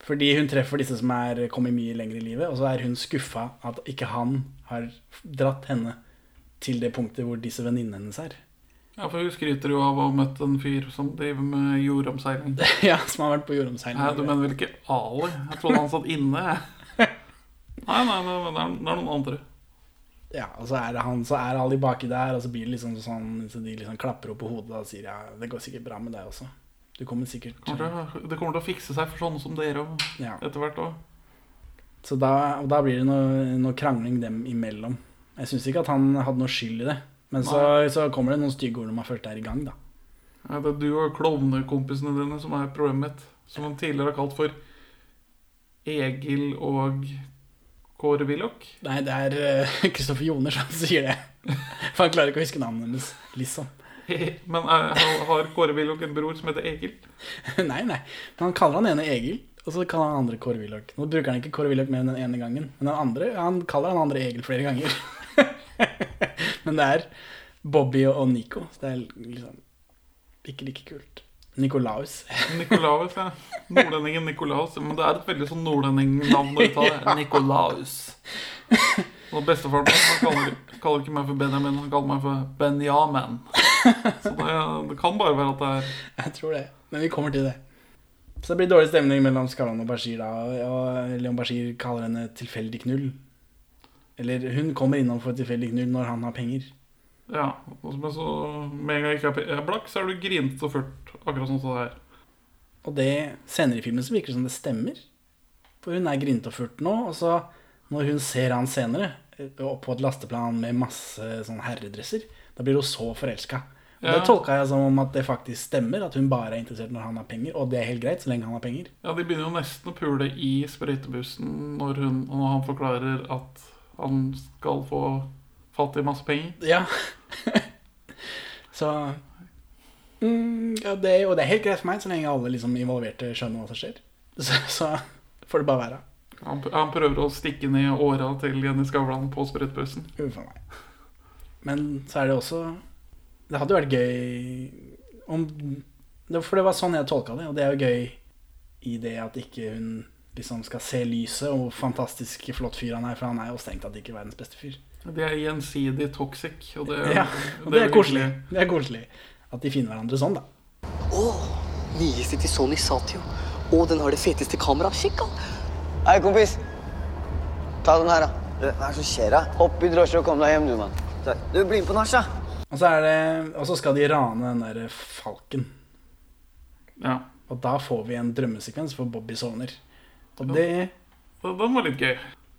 Fordi hun treffer disse som er kommet mye lenger i livet, og så er hun skuffa at ikke han har dratt henne til det punktet hvor disse venninnene hennes er.
Ja, for hun skryter jo av å ha møtt en fyr som driver med jordomseiling.
ja, som har vært på jordomseiling.
Nei, du mener vel ikke Ali? Jeg trodde han satt inne. jeg. Nei, nei, nei, men det er, det er noen andre.
Ja, og så er det han, så er alle baki der, og så blir det liksom sånn Så de liksom klapper opp på hodet og sier ja, det går sikkert bra med deg også. Du kommer sikkert
Kommer til å- Det kommer til å fikse seg for sånne som dere òg.
Ja.
Etter hvert òg.
Så da, og da blir det noe, noe krangling dem imellom. Jeg syns ikke at han hadde noe skyld i det. Men så, så kommer det noen stygge ord når man først er i gang, da.
Ja, Det er du og klovnekompisene dine som er problemet mitt. Som han tidligere har kalt for Egil og Kåre Willoch.
Nei, det er eh, Kristoffer Joner som sier det. For han klarer ikke å huske navnet hennes, liksom.
Men er, har Kåre Willoch en bror som heter Egil?
Nei, nei. Men han kaller han ene Egil, og så kaller han andre Kåre Willoch. Nå bruker han ikke Kåre Willoch mer enn den ene gangen, men den andre, han kaller han andre Egil flere ganger. men det er Bobby og Nico, så det er liksom ikke like kult. Nikolaus.
Nikolaus, ja. Nordlendingen Nikolaus. Men det er et veldig sånn nordlendingnavn å uttale. Nikolaus. Og bestefaren min han kaller, kaller ikke meg for Benjamin, han kaller meg for Benjamin. Så det, det kan bare være at det er
Jeg tror det, men vi kommer til det. Så det blir dårlig stemning mellom Skavlan og Bashir da, og- og Leon Bashir kaller henne tilfeldig knull. Eller hun kommer innom for et tilfeldig knull når han har penger.
Ja. og- Men så med en gang jeg ikke er pe- er blakk, så er du grinete og furt. Akkurat sånn som det er.
Og det senere i filmen så virker det som det stemmer. For hun er grinete og furt nå, og så når hun ser han senere, eh, oppå et lasteplan med masse sånn herredresser, da blir hun så forelska. Og
Ja.
Det tolka jeg som om at det faktisk stemmer, at hun bare er interessert når han har penger. Og det er helt greit, så lenge han har penger.
Ja, De begynner jo nesten å pule i sprøytebussen når, hun, når han forklarer at han skal få fatt i masse penger.
Ja. så mm, ja, det, er- Og det er helt greit for meg, så lenge alle liksom involverte skjønner hva som skjer. Så, så får det bare være.
Han, han prøver å stikke ned åra til Jenny Skavlan på sprøytebussen.
Uff a meg. Men så er det også Det hadde jo vært gøy om det- For det var sånn jeg tolka det, og det er jo gøy i det at ikke hun liksom skal se lyset og hvor fantastisk flott fyr han er, for han er jo strengt tatt ikke verdens beste fyr.
De er gjensidig toxic, og det,
Ja, og det er koselig. Det er koselig at de finner hverandre sånn, da.
Nyeste til Sony Satio. Og den har det feteste kameraet. Kikk, da. Hei, kompis. Ta den her, da. Hva er det som skjer, da? Hopp i drosje og kom deg hjem, du, mann. Du, bli med på nach, da.
Og så, er det, og så skal de rane den der falken.
Ja.
Og da får vi en drømmesekvens for Bobby sovner. Og det
Den den var litt gøy.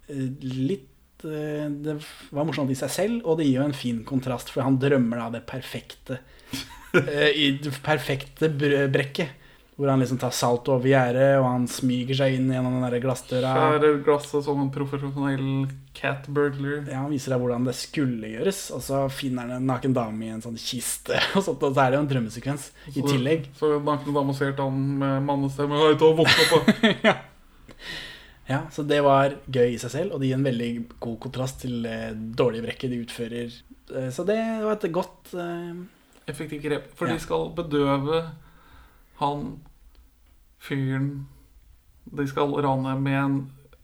eh, litt eh, Det var morsomt i seg selv, og det gir jo en fin kontrast, for han drømmer da det perfekte eh, I det perfekte br- brekket. Hvor han liksom tar salt over gjerdet, og han smyger seg inn gjennom den der glassdøra.
Skjærer glasset som en profesjonell cat burglar.
Ja, Han viser deg hvordan det skulle gjøres, og så finner han en naken dame i en sånn kiste. Og, sånt, og så er det jo en drømmesekvens i
Så-
tillegg.
Så den nakne dama ser til han med mannestemme Hei, ta og våkne opp, da!»
Ja, så det var gøy i seg selv, og det gir en veldig god kontrast til eh, dårlige brekket de utfører. Eh, så det var et godt eh,
Effektivt grep. For
Ja.
de skal bedøve han fyren de skal rane med en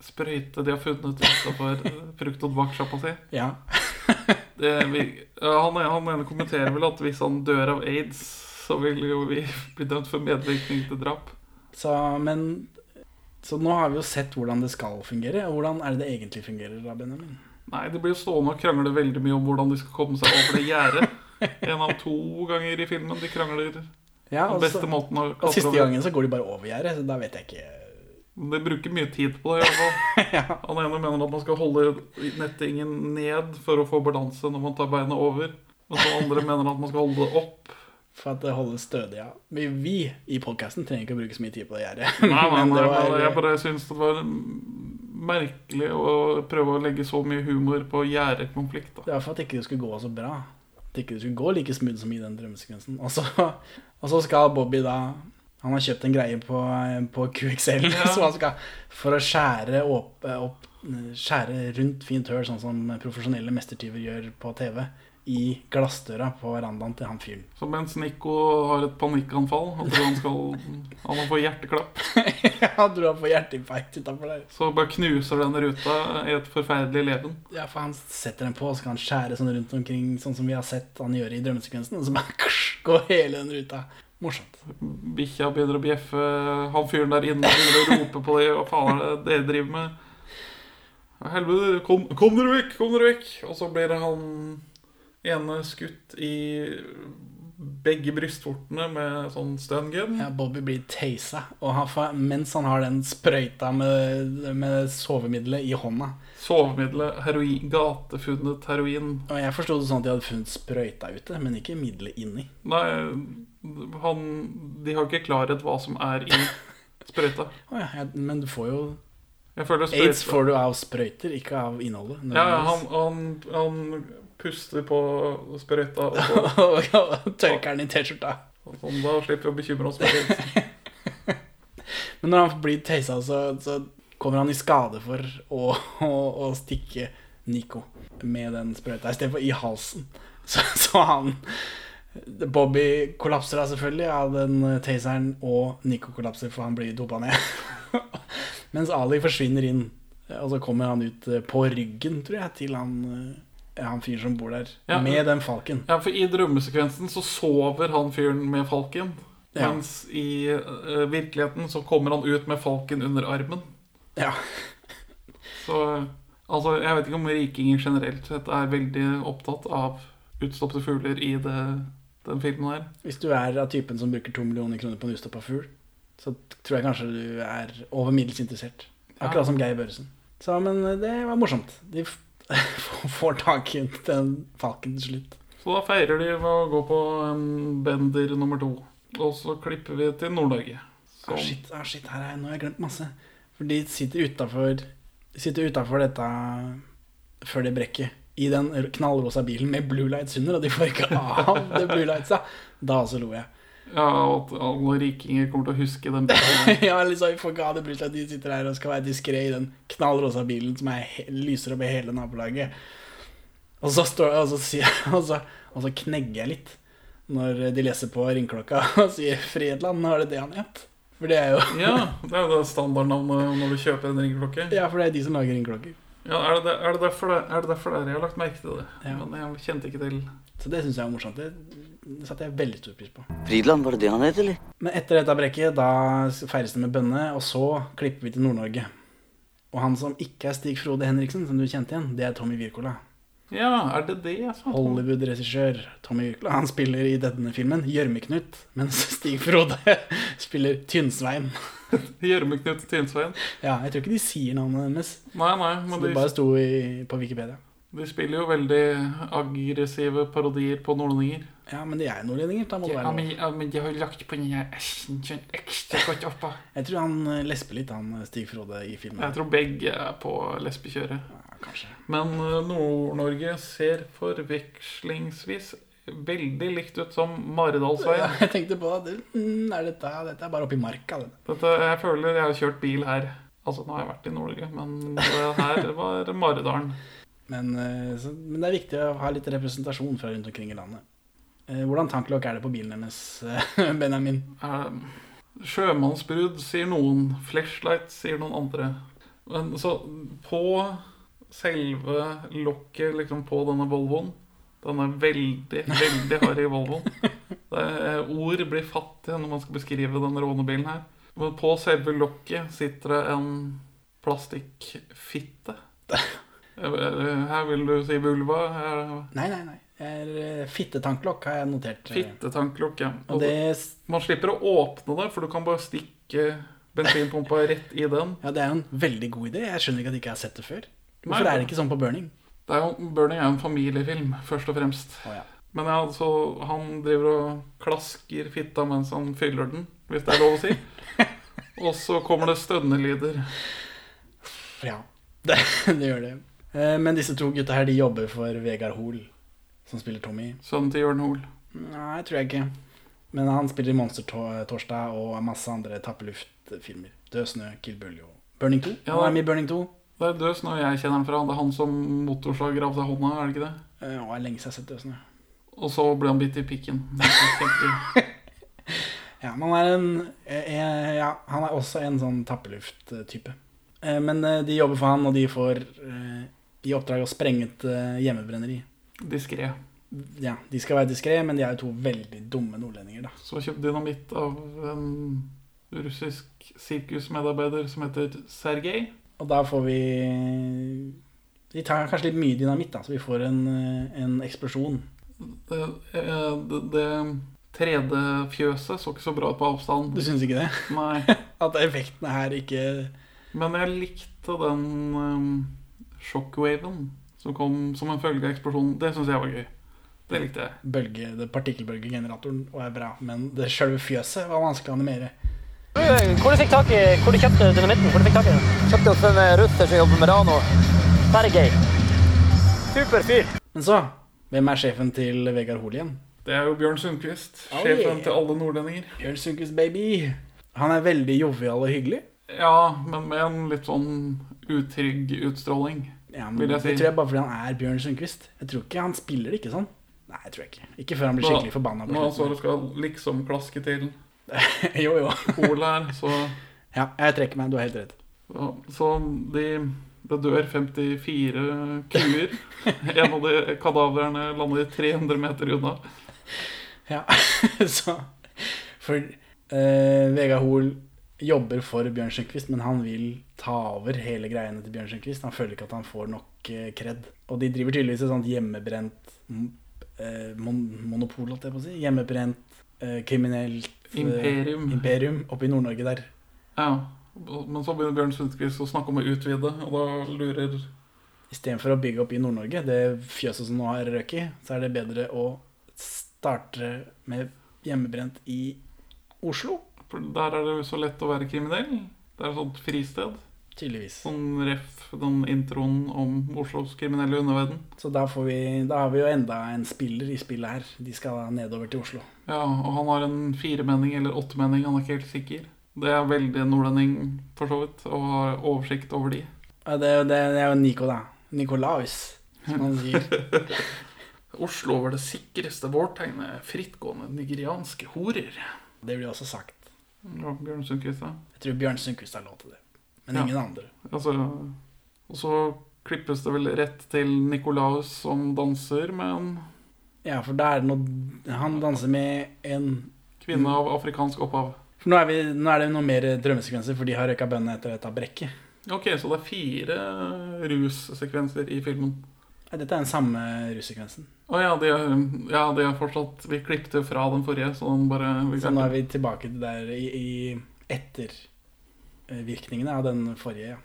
sprøyte de har funnet utafor frukt- og tobakkssjappa si.
Ja.
Det, vi, ja, han, han ene kommenterer vel at hvis han dør av aids, så vil jo vi bli dømt for medvirkning til drap.
Så, men, så nå har vi jo sett hvordan det skal fungere, og hvordan er det det egentlig fungerer, da, Benjamin?
Nei, de blir jo stående og krangle veldig mye om hvordan de skal komme seg over det gjerdet. En av to ganger i filmen de krangler den
Ja, og, så,
beste måten å
og
klatre
siste
over.
gangen så går de bare over gjerdet, så da vet jeg ikke
De bruker mye tid på det. i hvert fall. Han ene mener at man skal holde nettingen ned for å få balanse når man tar beina over. Og så andre mener at man skal holde det opp.
for at det holdes stødig. Ja. Vi, vi i podkasten trenger ikke å bruke så mye tid på det gjerdet.
Nei, nei,
men
nei,
det
men
var-
jeg bare syns det var merkelig å prøve å legge så mye humor på gjerdekonflikt.
Det var for at ikke det skulle gå så bra. At ikke det skulle gå like smooth som i den drømmesekvensen. Og så, og så skal Bobby da Han har kjøpt en greie på, på QXL
Ja.
som han skal, for å skjære opp, opp Skjære rundt fint høl, sånn som profesjonelle mestertyver gjør på TV. I glassdøra på verandaen til han fyren.
Så mens Nico har et panikkanfall og tror han skal Han må få hjerteklapp.
Han tror han får hjerteinfarkt utafor der.
Så bare knuser den ruta i et forferdelig leven.
Ja, for han setter den på, og så kan han skjære sånn rundt omkring, sånn som vi har sett han gjøre i drømmesekvensen. Og så bare ksh, går hele den ruta. Morsomt.
Bikkja begynner å bjeffe, han fyren der inne begynner å rope på dem. Hva faen er det dere driver med? «Ja, Helvete, kom, kom dere vekk! Kom dere vekk! Og så blir han ene skutt i begge brystvortene med sånn stun gun.
Ja, Bobby blir tasa, og han får, mens han har den sprøyta med, med sovemiddelet i hånda.
Sovemiddelet heroin, gatefunnet heroin.
Og jeg forsto det sånn at de hadde funnet sprøyta ute, men ikke middelet inni.
Nei, han De har ikke klarhet hva som er i sprøyta.
Å ja, jeg, men du får jo
Jeg føler sprøyta-
Aids får du av sprøyter, ikke av innholdet.
Ja, ja, han, han, han puster på sprøyta, og så
nødvendigvis. Og tørker den i T-skjorta.
Sånn, da slipper vi å bekymre oss for det.
Men når han blir tasa, så, så kommer han i skade for å, å, å stikke Nico med den sprøyta istedenfor i halsen. Så, så han Bobby kollapser da selvfølgelig av den taseren, og Nico kollapser, for han blir dopa ned. Mens Ali forsvinner inn, og så kommer han ut eh, på ryggen, tror jeg, til han, eh, han fyren som bor der,
Ja.
med den falken.
Ja, for i drømmesekvensen så sover han fyren med falken.
Ja.
Mens i eh, virkeligheten så kommer han ut med falken under armen.
Ja.
Så altså, jeg vet ikke om rikinger generelt sett er veldig opptatt av utstoppede fugler i det, den filmen her.
Hvis du er av typen som bruker to millioner kroner på en ustoppa fugl, så tror jeg kanskje du er over middels interessert. Akkurat som Geir Børresen. Så, men eh, det var morsomt. De f- får tak i den falken til slutt.
Så da feirer de ved å gå på en bender nummer to. Og så klipper vi til Nord-Norge.
Ah,
Som-
shit, ah, shit, her er jeg, nå har jeg glemt masse. For de sitter utafor Sitter utenfor dette før det brekker. I den knallrosa bilen med blue lights under, og de får ikke av det blue lightsa. Da også lo jeg.
Ja, og at alle rikinger kommer til å huske den bilen.
ja, liksom, folk har det brydd seg at de sitter her og skal være diskré i den knallrosa bilen som er, he- lyser opp i hele nabolaget. Og så, står, og, så sier, og, så, og så knegger jeg litt når de leser på ringklokka og sier 'Fredland', nå er det det han het? For det er jo
Ja, det er jo det standardnavnet når du kjøper en ringeklokke.
Ja, for det er de som lager ringklokker.
Ja, er det, er, det derfor det, er det derfor det er? Jeg har lagt merke til det.
Ja.
Men jeg kjente ikke til
Så det syns jeg var morsomt. Det, det satte jeg veldig stor pris på.
Fridland, var det det han het, eller?
Men etter dette brekket, da feires det med bønne, og så klipper vi til Nord-Norge. Og han som ikke er Stig Frode Henriksen, som du kjente igjen, det er Tommy Wirkola.
Ja, er det det? jeg sa?
Hollywood-regissør Tommy Wirkola. Han spiller i denne filmen Gjørmeknut, mens Stig Frode spiller Tynnsvein.
Gjørmeknut Tynsveien.
Ja, jeg tror ikke de sier navnet hennes.
Nei, nei,
Så
men
det
de,
bare sto i, på Wikipedia.
de spiller jo veldig aggressive parodier på nordlendinger.
Ja, men de er jo nordlendinger. Da må det være lov.
men de har jo lagt på den her æsjen sånn ekstra godt oppå.
Jeg tror han eh, lesper litt, han Stig Frode, i filmen.
Jeg tror begge er på lesbekjøret.
Ja, kanskje.
Men eh, Nord-Norge ser forvekslingsvis veldig likt ut som Maridalsveien.
Jeg tenkte på at mm, er dette, dette er bare oppi marka. Det.
Dette, jeg føler jeg har kjørt bil her. Altså, nå har jeg vært i Nord-Norge, men det her var Maridalen.
Men, eh, så, men det er viktig å ha litt representasjon fra rundt omkring i landet. Eh, Hvordan tanklokk er det på bilen hennes, Benjamin?
Eh, Sjømannsbrudd, sier noen. Flashlight, sier noen andre. Men så på selve lokket liksom på denne Volvoen Denne veldig, veldig harde Volvoen det er, Ord blir fattige når man skal beskrive den rånebilen her. Men på selve lokket sitter det en plastikkfitte. Eh, Her vil du si vulva. her-
Nei, nei, nei. Det er eh, fittetanklokk, har jeg notert. eh.
Fittetanklokk, ja.
Og det,
Man slipper å åpne det, for du kan bare stikke bensinpumpa rett i den.
ja, det er jo en veldig god idé. Jeg skjønner ikke at jeg ikke har sett det før. Hvorfor
Nei.
er det ikke sånn på burning?
Det er jo, Burning er jo en familiefilm, først og fremst.
Å, ja.
Men ja, altså, han driver og klasker fitta mens han fyller den, hvis det er lov å si. Og så kommer det stønnelyder.
Ja. Det, det gjør det. Eh, Men disse to gutta her, de jobber for Vegard Hoel, som spiller Tommy.
Sønnen til Jørn Hoel.
Nei, tror jeg ikke. Men han spiller i Monster Tor- Torsdag og masse andre tappeluftfilmer. Død snø, Kill Bully og Burning 2.
Ja.
Han er med i Burning 2.
Det er Døs når jeg kjenner ham fra. Det er han som motorsager av seg hånda, er det ikke det?
Eh, Å, det er lenge siden jeg har sett Død snø.
Og så ble han bitt i pikken. Det er kjempe-
Ja, men han er en eh, Ja, han er også en sånn tappeluft-type. Eh, Men eh, de jobber for han, og de får eh, i oppdrag å sprenge et eh, hjemmebrenneri.
Diskré.
Ja, De skal være diskré, men de er jo to veldig dumme nordlendinger, da.
Så kjøpt dynamitt av en russisk sirkusmedarbeider som heter Sergej.
Og da får vi De tar kanskje litt mye dynamitt, da, så vi får en, eh, en eksplosjon.
Det, eh, det, det tredje fjøset så ikke så bra ut på avstand.
Du syns ikke det?
Nei.
At effektene her ikke
Men jeg likte den eh, shockwaven som kom som en følge av eksplosjonen. Det syns jeg var gøy. Det likte jeg.
bølge, det Partikkelbølgegeneratoren og er bra, men det sjølve fjøset var vanskelig å animere.
Hvor du fikk tak i, hvor du kjøpte dynamitten? Hvor du fikk tak i den? Kjøpte hos en eh, russer som jobber med Rano. Sergej. Super fyr.
Men så Hvem er sjefen til Vegard Hoel igjen?
Det er jo Bjørn Sundquist,
Oi.
sjefen til alle nordlendinger.
Bjørn Sundquist, baby. Han er veldig jovial og hyggelig.
Ja, men med en litt sånn utrygg utstråling,
Ja, men
vil jeg si.
Det tror jeg bare fordi han er Bjørn Sundquist. Jeg tror ikke han spiller det ikke sånn. Nei, jeg tror jeg ikke. Ikke før han blir skikkelig forbanna. på
Nå så
slutten.
det skal liksom klaske til
Jo, jo.
Pol her, så,
Ja, jeg trekker meg. Du har helt rett.
så de, det dør 54 kuer. En av de kadaverne lander 300 meter unna.
Ja, så For eh, Vegard Hoel jobber for Bjørn Sundquist, men han vil ta over hele greiene til Bjørn Sundquist. Han føler ikke at han får nok eh, kred. Og de driver tydeligvis et sånt hjemmebrent mm, eh, mon monopol, holdt jeg på å si. Hjemmebrent eh, kriminelt eh,
Imperium.
imperium oppe i Nord-Norge der.
Ja, Men så begynner Bjørn Sundquist å snakke om å utvide, og da lurer
Istedenfor å bygge opp i Nord-Norge, det fjøset som nå har røk i, så er det bedre å starte med hjemmebrent i Oslo,
For der er det jo så lett å være kriminell. Det er et sånt fristed.
tydeligvis.
Sånn ref den introen om Oslos kriminelle underverden.
Så da, får vi, da har vi jo enda en spiller i spillet her. De skal da nedover til Oslo.
Ja, og han har en firemenning eller åttemenning, han er ikke helt sikker. Det er veldig nordlending, for så vidt, og har oversikt over de.
Ja, Det, er jo- det, det er jo Nico, da. Nikolaus, som han sier.
Oslo var det sikreste vårtegnet frittgående nigerianske horer.
Det blir også sagt.
Ja, Bjørn Sundquist, ja.
Jeg tror Bjørn Sundquist har lov til det. Men
Ja.
ingen andre.
Altså, og så klippes det vel rett til Nikolaus som danser med en
Ja, for da er det noe Han danser med en
kvinne
Mm.
av afrikansk opphav.
For nå er, vi, nå er det noe mer drømmesekvenser, for de har røyka bøndene etter dette brekket.
Ok, så det er fire russekvenser i filmen.
Nei, Dette er den samme russekvensen.
Å ja, de er, ja, de er fortsatt Vi klippet jo fra den forrige, så den bare vi
Så nå er vi tilbake til der i, i ettervirkningene av den forrige. Ja.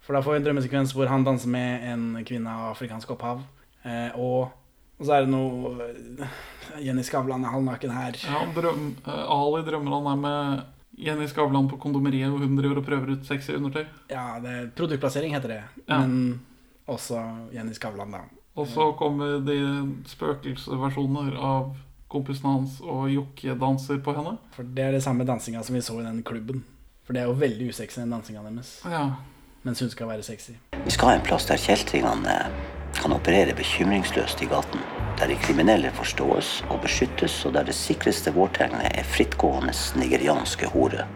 For da får vi en drømmesekvens hvor han danser med en kvinne av afrikansk opphav. Eh, og, og så er det noe eh, Jenny Skavlan er halvnaken her.
Ja, han drøm, eh, Ali drømmer han er med Jenny Skavlan på kondomeriet, og hun driver og prøver ut sexy undertøy.
Ja, det, produktplassering heter det.
Ja.
Men også Jenny Skavlan, da.
Og så kommer de spøkelsesversjoner av kompisen hans og jokkedanser på henne.
For det er det samme dansinga som vi så i den klubben. For det er jo veldig usexy, den dansinga deres.
Ja,
Mens hun skal være sexy.
Vi skal ha en plass der kjeltringene eh, kan operere bekymringsløst i gaten. Der de kriminelle forstås og beskyttes, og der det sikreste vårtegnet er frittgående nigerianske hore.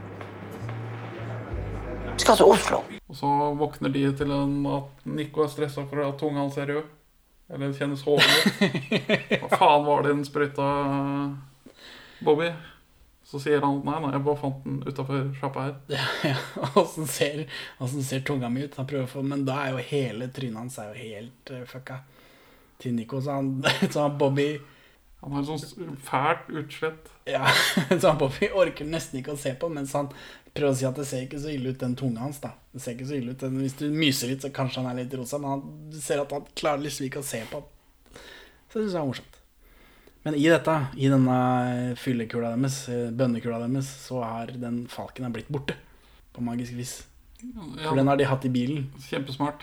Vi skal til Oslo.
Og så våkner de til en, at Nico er stressa for at tunga hans er rød. Eller kjennes hoven ut. Hva faen var det den sprøyta, Bobby? Så sier han nei, nei, jeg bare fant den utafor sjappa her.
Ja, Åssen ser, hvordan ser tunga mi ut? Han prøver å få, Men da er jo hele trynet hans er jo helt eh, fucka. Til Nico, så han, så han Bobby
Han har et sånt fælt utslett.
ja, Så han Bobby orker nesten ikke å se på, mens han prøver å si at det ser ikke så ille ut, den tunga hans. da Det ser ikke så ille ut den, Hvis du myser litt, så kanskje han er litt rosa, men han, du ser at han klarer liksom ikke å se på. Så det syns jeg er morsomt. Men i dette, i denne fyllekula deres, eh, bønnekula deres, så har den falken er blitt borte. På magisk vis.
Ja,
For den har de hatt i bilen.
Kjempesmart.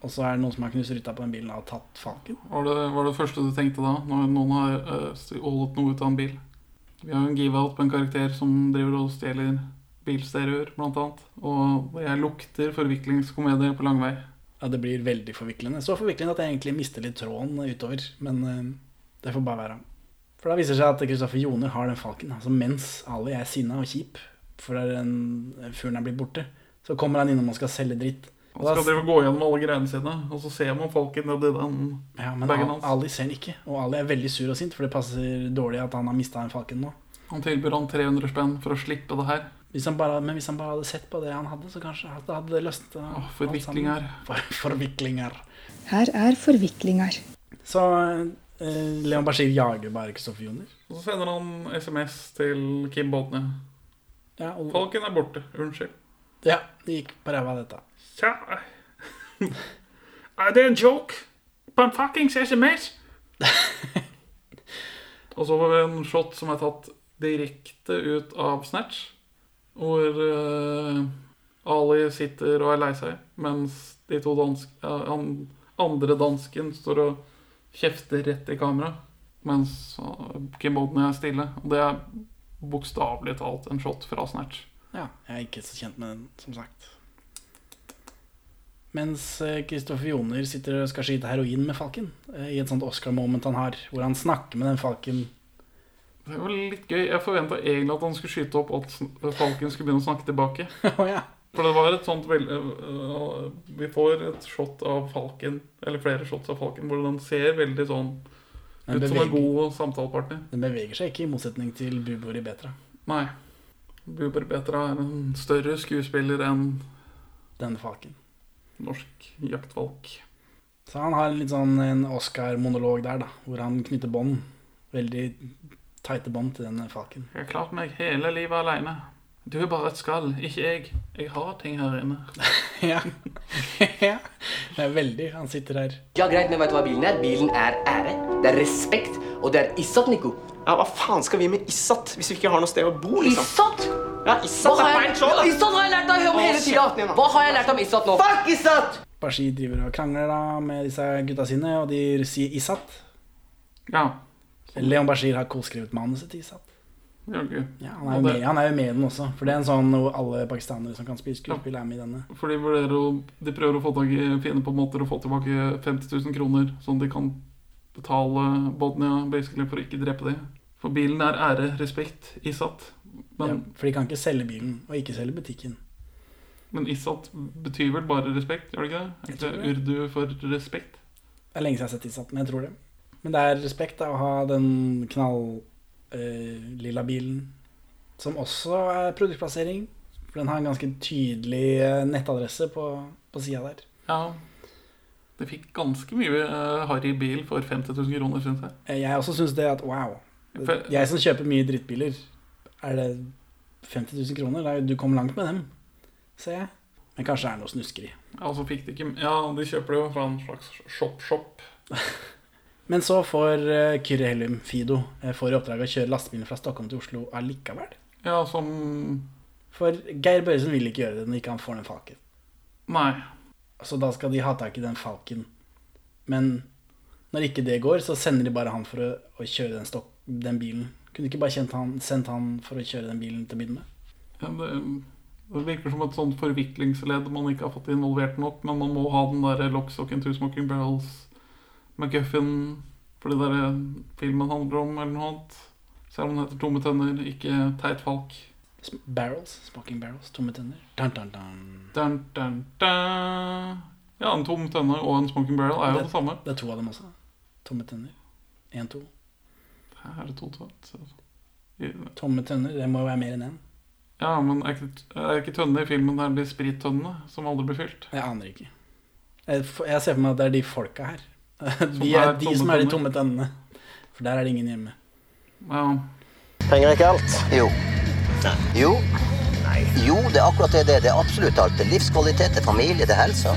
Og så er det noen som har knust ruta på den bilen og har tatt fanken.
Var det, var det første du tenkte da, når noen har eh, stjålet noe ut av en bil? Vi har jo en give-out på en karakter som driver og stjeler bilstereoer, blant annet. Og jeg lukter forviklingskomedie på lang vei.
Ja, det blir veldig forviklende. Så forviklende at jeg egentlig mister litt tråden utover. Men eh, det får bare være. For da viser det seg at Kristoffer Joner har den falken. Altså mens Ali er sinna og kjip for der den fyren er blitt borte, så kommer han innom og skal selge dritt. Og
Han
da,
skal drive og gå gjennom alle greiene sine, og så ser man folken nedi den
ja, men
bagen
Al-
hans.
Ali ser den ikke. Og Ali er veldig sur og sint, for det passer dårlig at han har mista den falken nå.
Han tilbyr han 300 spenn for å slippe det her.
Hvis han bare, men hvis han bare hadde sett på det han hadde, så kanskje at det hadde løst uh,
forviklinger.
For, forviklinger.
Her er forviklinger.
Så eh, Leon Bashir jager bare Kristoffer Joner.
Og så sender han SMS til Kim Bodne.
Ja, og-
Falken er borte. Unnskyld.
Ja, det gikk på ræva, dette.
Tja. Er det en joke? På en fuckings SMS? og så får vi en shot som er tatt direkte ut av Snatch. Hvor eh, Ali sitter og er lei seg, mens de to dansk, eh, han andre dansken står og kjefter rett i kamera. Mens eh, Kim Bodny er stille. Og det er bokstavelig talt en shot fra Snatch.
Ja, jeg er ikke så kjent med den, som sagt. Mens Kristoffer Joner sitter og skal skyte heroin med Falken, eh, i et sånt Oscar-moment han har, hvor han snakker med den Falken
Det var litt gøy. Jeg forventa egentlig at han skulle skyte opp at sn- Falken skulle begynne å snakke tilbake. For det var et sånt vel- øh, øh, Vi får et shot av Falken, eller flere shots av Falken, hvor den ser veldig sånn
Den
ut som en
beveger-
god samtalepartner.
Den beveger seg ikke, i motsetning til Bubor i Betra.
Nei. Buber Petra er en større skuespiller enn
Denne Falken.
norsk jaktvalk.
Så han har litt sånn en Oscar-monolog der, da, hvor han knytter bånd. Veldig tighte bånd til denne Falken.
Jeg har klart meg hele livet aleine. Du er bare et skall, ikke jeg. Jeg har ting her inne.
ja. ja. Det er veldig Han sitter her.
Ja, greit, men vet du hva bilen er? Bilen er ære, det er respekt, og det er Issat, Nico. Ja, hva faen skal vi med Issat hvis vi ikke har noe sted å bo, liksom? Issat? Ja, Issat
Hva
er
har jeg-
feil sånn, da.
Ja, Issat har jeg lært deg om
Å,
hele
kjeften din,
tida.
da.
Hva har jeg lært om Issat nå?
Fuck Issat!
Bashir driver og krangler da med disse gutta sine, og de sier Isat.
Ja.
Leon Bashir har koskrevet manuset til Isat.
Jaggu.
Ja, Han er, jo
Og det-
med, han er jo med i den også, for det er en sånn hvor alle pakistanere som kan spille skuespill, er med i denne.
For de, vurderer å, de prøver å få tak i, finne på måter å få tilbake 50 000 kroner, sånn at de kan betale Bodnia basically for å ikke drepe dem. For bilen er ære, respekt, Isat.
ja,
Men,
for de kan ikke selge bilen, og ikke selge butikken.
men Isat betyr vel bare respekt, gjør det ikke det? Er ikke
Jeg tror
det urdu for respekt?
Det er lenge siden jeg har sett Isat, men jeg tror det. Men det er respekt da, å ha den knalllilla lilla bilen, som også er produktplassering. For den har en ganske tydelig eh, nettadresse på, på sida der.
Ja. Det fikk ganske mye eh, harry bil for 50 000 kroner, syns jeg.
Eh, Jeg også syns det at wow.
For-
Jeg som kjøper mye drittbiler, er det 50 000 kroner? Det er jo- Du kom langt med dem, ser jeg. Men kanskje det er noe snuskeri.
Ja, og så Altså, fikk de ikke Ja, de kjøper det jo fra en slags shop-shop.
Men så får eh, Kyrre Hellum, Fido, eh, får i oppdrag å kjøre lastebilen fra Stockholm til Oslo allikevel.
Ja, som
For Geir Børresen vil ikke gjøre det når ikke han får den falken.
Nei.
Så da skal de ha tak i den falken. Men når ikke det går, så sender de bare han for å, å kjøre den, stok den bilen. Kunne de ikke bare kjent han, sendt han for å kjøre den bilen til å begynne med?
Ja, det, eh, det virker som et sånt forviklingsledd man ikke har fått involvert nok, men man må ha den der Lockstock and Two Smoking Barrels, McGuffin For det der eh, filmen handler om, eller noe annet. Selv om den heter Tomme tenner, ikke Teit Falk.
Sm- Barrels, smoking barrels, tomme tenner. Dun, dun, dun.
Dun, dun, dun. Ja, en tom tønne og en smoking barrel er jo det, samme.
Det er to av dem også. Tomme tenner. Én, to.
Her er det to tønner.
Tomme tønner, det må jo være mer enn én.
Ja, men er ikke, er ikke tønne i filmen her de sprittønnene som aldri blir fylt?
Jeg aner ikke. Jeg f- jeg ser for meg at det er de folka her. De
er
er de
tomme
som er de
tønner.
tomme tennene. For der er det ingen hjemme.
Ja.
Trenger ikke alt? Jo. Jo. Jo, det er akkurat det det er. Det er absolutt alt. Det er livskvalitet, det er familie, det er helse.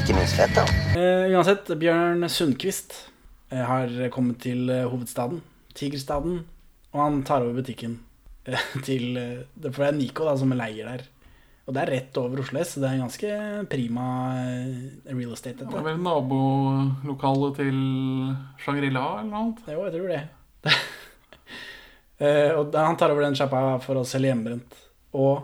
Ikke minst fett, da.
Eh, uansett, Bjørn Sundquist eh, har kommet til eh, hovedstaden, Tigerstaden, og han tar over butikken eh, til eh, det- For det er Nico da, som leier der. Og det er rett over Oslo S, så det er en ganske prima eh, real estate.
Det er
Dette.
vel nabolokalet til Shangri-La eller noe annet?
Jo, jeg tror det. Eh, og da- han tar over den sjappa for å selge hjemmebrent. Og,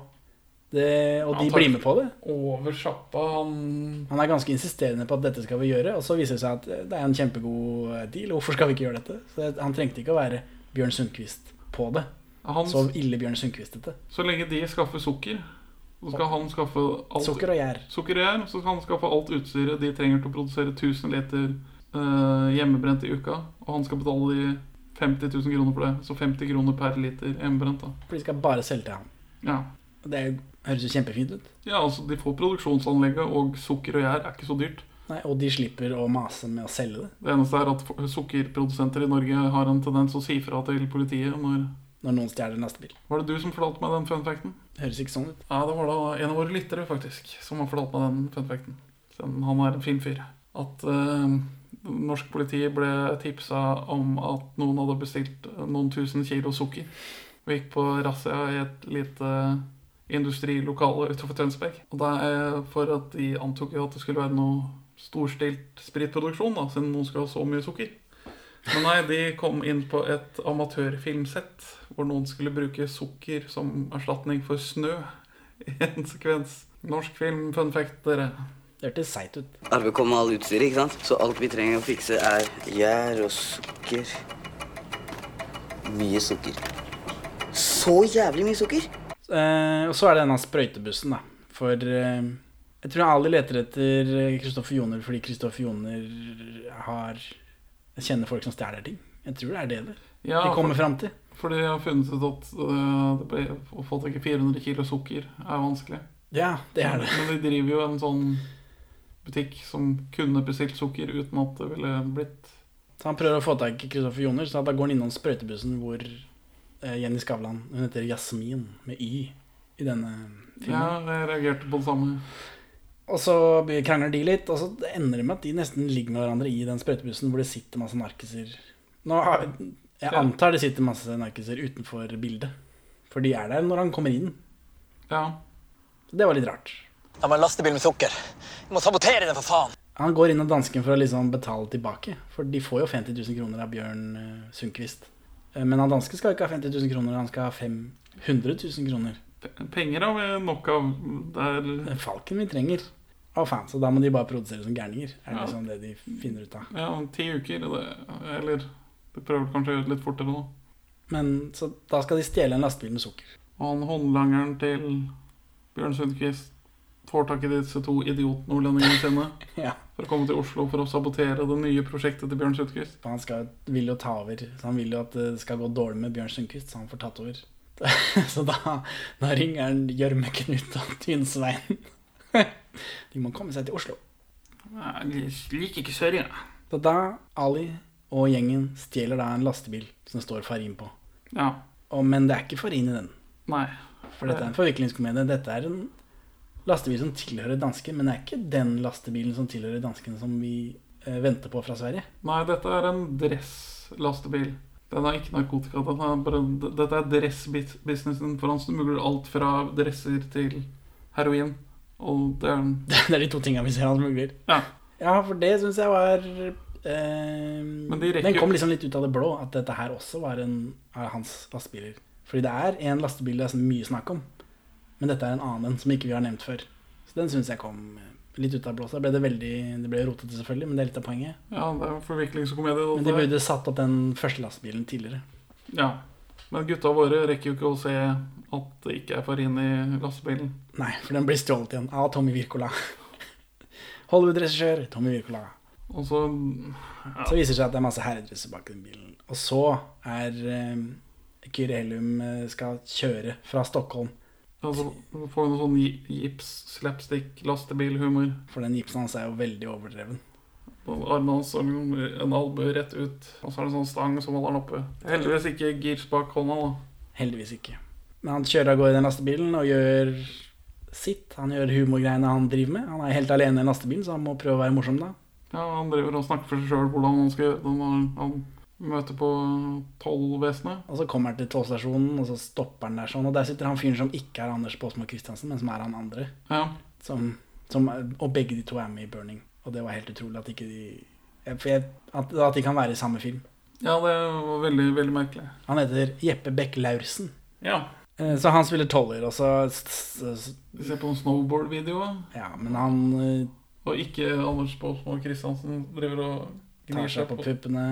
det, og
Han
de
tar
blir med på det.
Over sjappa han
Han er ganske insisterende på at dette skal vi gjøre, og så viser det seg at eh, det er en kjempegod eh, deal. Hvorfor skal vi ikke gjøre dette? Så det- han trengte ikke å være Bjørn Sundquist på det.
Han-
Så ille Bjørn Sundquist-ete.
Så lenge de skaffer sukker, så skal han skaffe alt
Sukker og gjær.
Sukker og gjær, Så skal han skaffe alt utstyret de trenger til å produsere 1000 liter eh, hjemmebrent i uka. Og han skal betale de 50 000 kroner for det. Så 50 kroner per liter hjemmebrent. da
For de skal bare selge til ham.
Ja,
Og det er jo- høres jo kjempefint ut.
ja altså De får produksjonsanlegget, og sukker og gjær er ikke så dyrt.
Nei, og de slipper å mase med å selge det
Det eneste er at f- sukkerprodusenter i Norge har en tendens å si fra til politiet når
når noen stjeler en lastebil.
Var det du som fortalte meg den fun facten?
Høres ikke sånn ut.
Ja, det var da en av våre lyttere faktisk som har fortalt meg den fun facten. Siden han er en fin fyr. At eh, norsk politi ble tipsa om at noen hadde bestilt noen tusen kilo sukker. Og gikk på razzia i et lite industrilokale utenfor Tønsberg. Og det er for at de antok jo at det skulle være noe storstilt spritproduksjon, da, siden noen skal ha så mye sukker. Men nei, de kom inn på et amatørfilmsett hvor noen skulle bruke sukker som erstatning for snø i en sekvens. Norsk film, fun fact, dere.
Det hørtes seigt ut.
Arve kom med all utstyret, ikke sant? Så alt vi trenger å fikse er gjær og sukker.
Mye sukker.
Så jævlig mye sukker!
Eh, og så er det denne sprøytebussen, da. For eh, jeg tror Ali leter etter Kristoffer Joner fordi Kristoffer Joner har kjenner folk som stjeler ting. Jeg tror det er det det
Ja,
de kommer
for-
fram til.
Fordi jeg har funnet ut at øh, det ble, å få tak i 400 kilo sukker er vanskelig.
Ja, det er det.
Men de driver jo en sånn butikk som kunne bestilt sukker uten at det ville blitt
Så han prøver å få tak i Kristoffer Joner, så da går han innom sprøytebussen hvor eh, Jenny Skavlan Hun heter Jasmin med Y i denne filmen.
Ja, jeg reagerte på det samme.
Og så be- krangler de litt, og så ender det med at de nesten ligger med hverandre i den sprøytebussen hvor det sitter masse narkiser. Nå, har- jeg
Ja.
antar det sitter masse narkiser utenfor bildet, for de er der når han kommer inn.
Ja.
Det var litt rart.
Det var en lastebil med sukker. Vi må sabotere den, for faen!
Han går inn av dansken for å liksom betale tilbake, for de får jo 50 000 kroner av Bjørn eh, Sundquist. Eh, Men han dansken skal jo ikke ha 50 000 kroner, han skal ha 500 000 kroner.
Penger har vi nok av. Det er
Det er Falken vi trenger av fans, og da må de bare produsere som gærninger. Er det
Ja.
liksom det de finner ut av.
ja, om ti uker. Det, eller du prøver kanskje å gjøre det litt fortere nå.
Men så da skal de stjele en lastebil med sukker.
Og han håndlangeren til Bjørn Sundquist får tak i disse to idiotnordlendingene sine
Ja.
for å komme til Oslo for å sabotere det nye prosjektet til Bjørn Sundquist.
For han skal, vil jo ta over, så han vil jo at det skal gå dårlig med Bjørn Sundquist, så han får tatt over. Så da, da ringer han Gjørme-Knut og Tynsveien. De må komme seg til Oslo.
Jeg liker ikke søringa.
Så da Ali og gjengen stjeler da en lastebil som det står Farin på.
Ja.
Og, men det er ikke Farin i den.
Nei.
For dette er en forviklingskomedie. Dette er en lastebil som tilhører dansken, men det er ikke den lastebilen som tilhører dansken som vi eh, venter på fra Sverige.
Nei, dette er en dresslastebil. Den er ikke narkotika. Den er bare, d- dette er dressbusinessen, for han smugler alt fra dresser til heroin. Og det er
Det er de to tingene vi ser han smugler.
Ja.
Ja, for det syns jeg var eh,
de rekker-
Den kom liksom litt ut av det blå, at dette her også var en av hans lastebiler. Fordi det er en lastebil det er så mye snakk om, men dette er en annen en som ikke vi har nevnt før. Så den syns jeg kom eh, litt ut av det blå. Så da ble det veldig Det ble rotete, selvfølgelig, men det er litt av poenget.
Ja, det er en forviklingskomedie.
Men
dette
de
her.
burde satt opp den første lastebilen tidligere.
Ja. Men gutta våre rekker jo ikke å se at det ikke er farin i lastebilen.
Nei, for den blir stjålet igjen av Tommy Wirkola. Hollywood-regissør Tommy Wirkola.
Og så
Så viser det seg at det er masse herredresser bak den bilen. Og så er eh, Kyrre Hellum eh, skal kjøre fra Stockholm.
Altså, får vi noe sånn gi- gips, slapstick, lastebilhumor.
For den gipsen hans er jo veldig overdreven.
Armene hans og en albue rett ut. Og så er det sånn stang som holder han oppe. Heldigvis ikke gips bak hånda, da.
Heldigvis ikke. Men han kjører av gårde i den lastebilen og gjør sitt. Han gjør humorgreiene han driver med. Han er helt alene i den lastebilen, så han må prøve å være morsom da.
Ja, Han driver og snakker for seg sjøl hvordan han skal gjøre det. når Han Møte på tollvesenet.
Og så kommer han til tollstasjonen, og så stopper han der sånn. Og der sitter han fyren som ikke er Anders Baasmo Christiansen, men som er han andre.
Ja.
Som, som, og begge de to er med i Burning. Og det var helt utrolig at ikke de for jeg, at, at de kan være i samme film.
Ja, det var veldig, veldig merkelig.
Han heter Jeppe Beck Laursen.
Ja.
Eh, Så han spiller toller, og så s- s-
Vi ser på en snowboard-video.
Ja, men han eh,
Og ikke Anders Båtsmo Christiansen driver og
tar
gnir
seg på puppene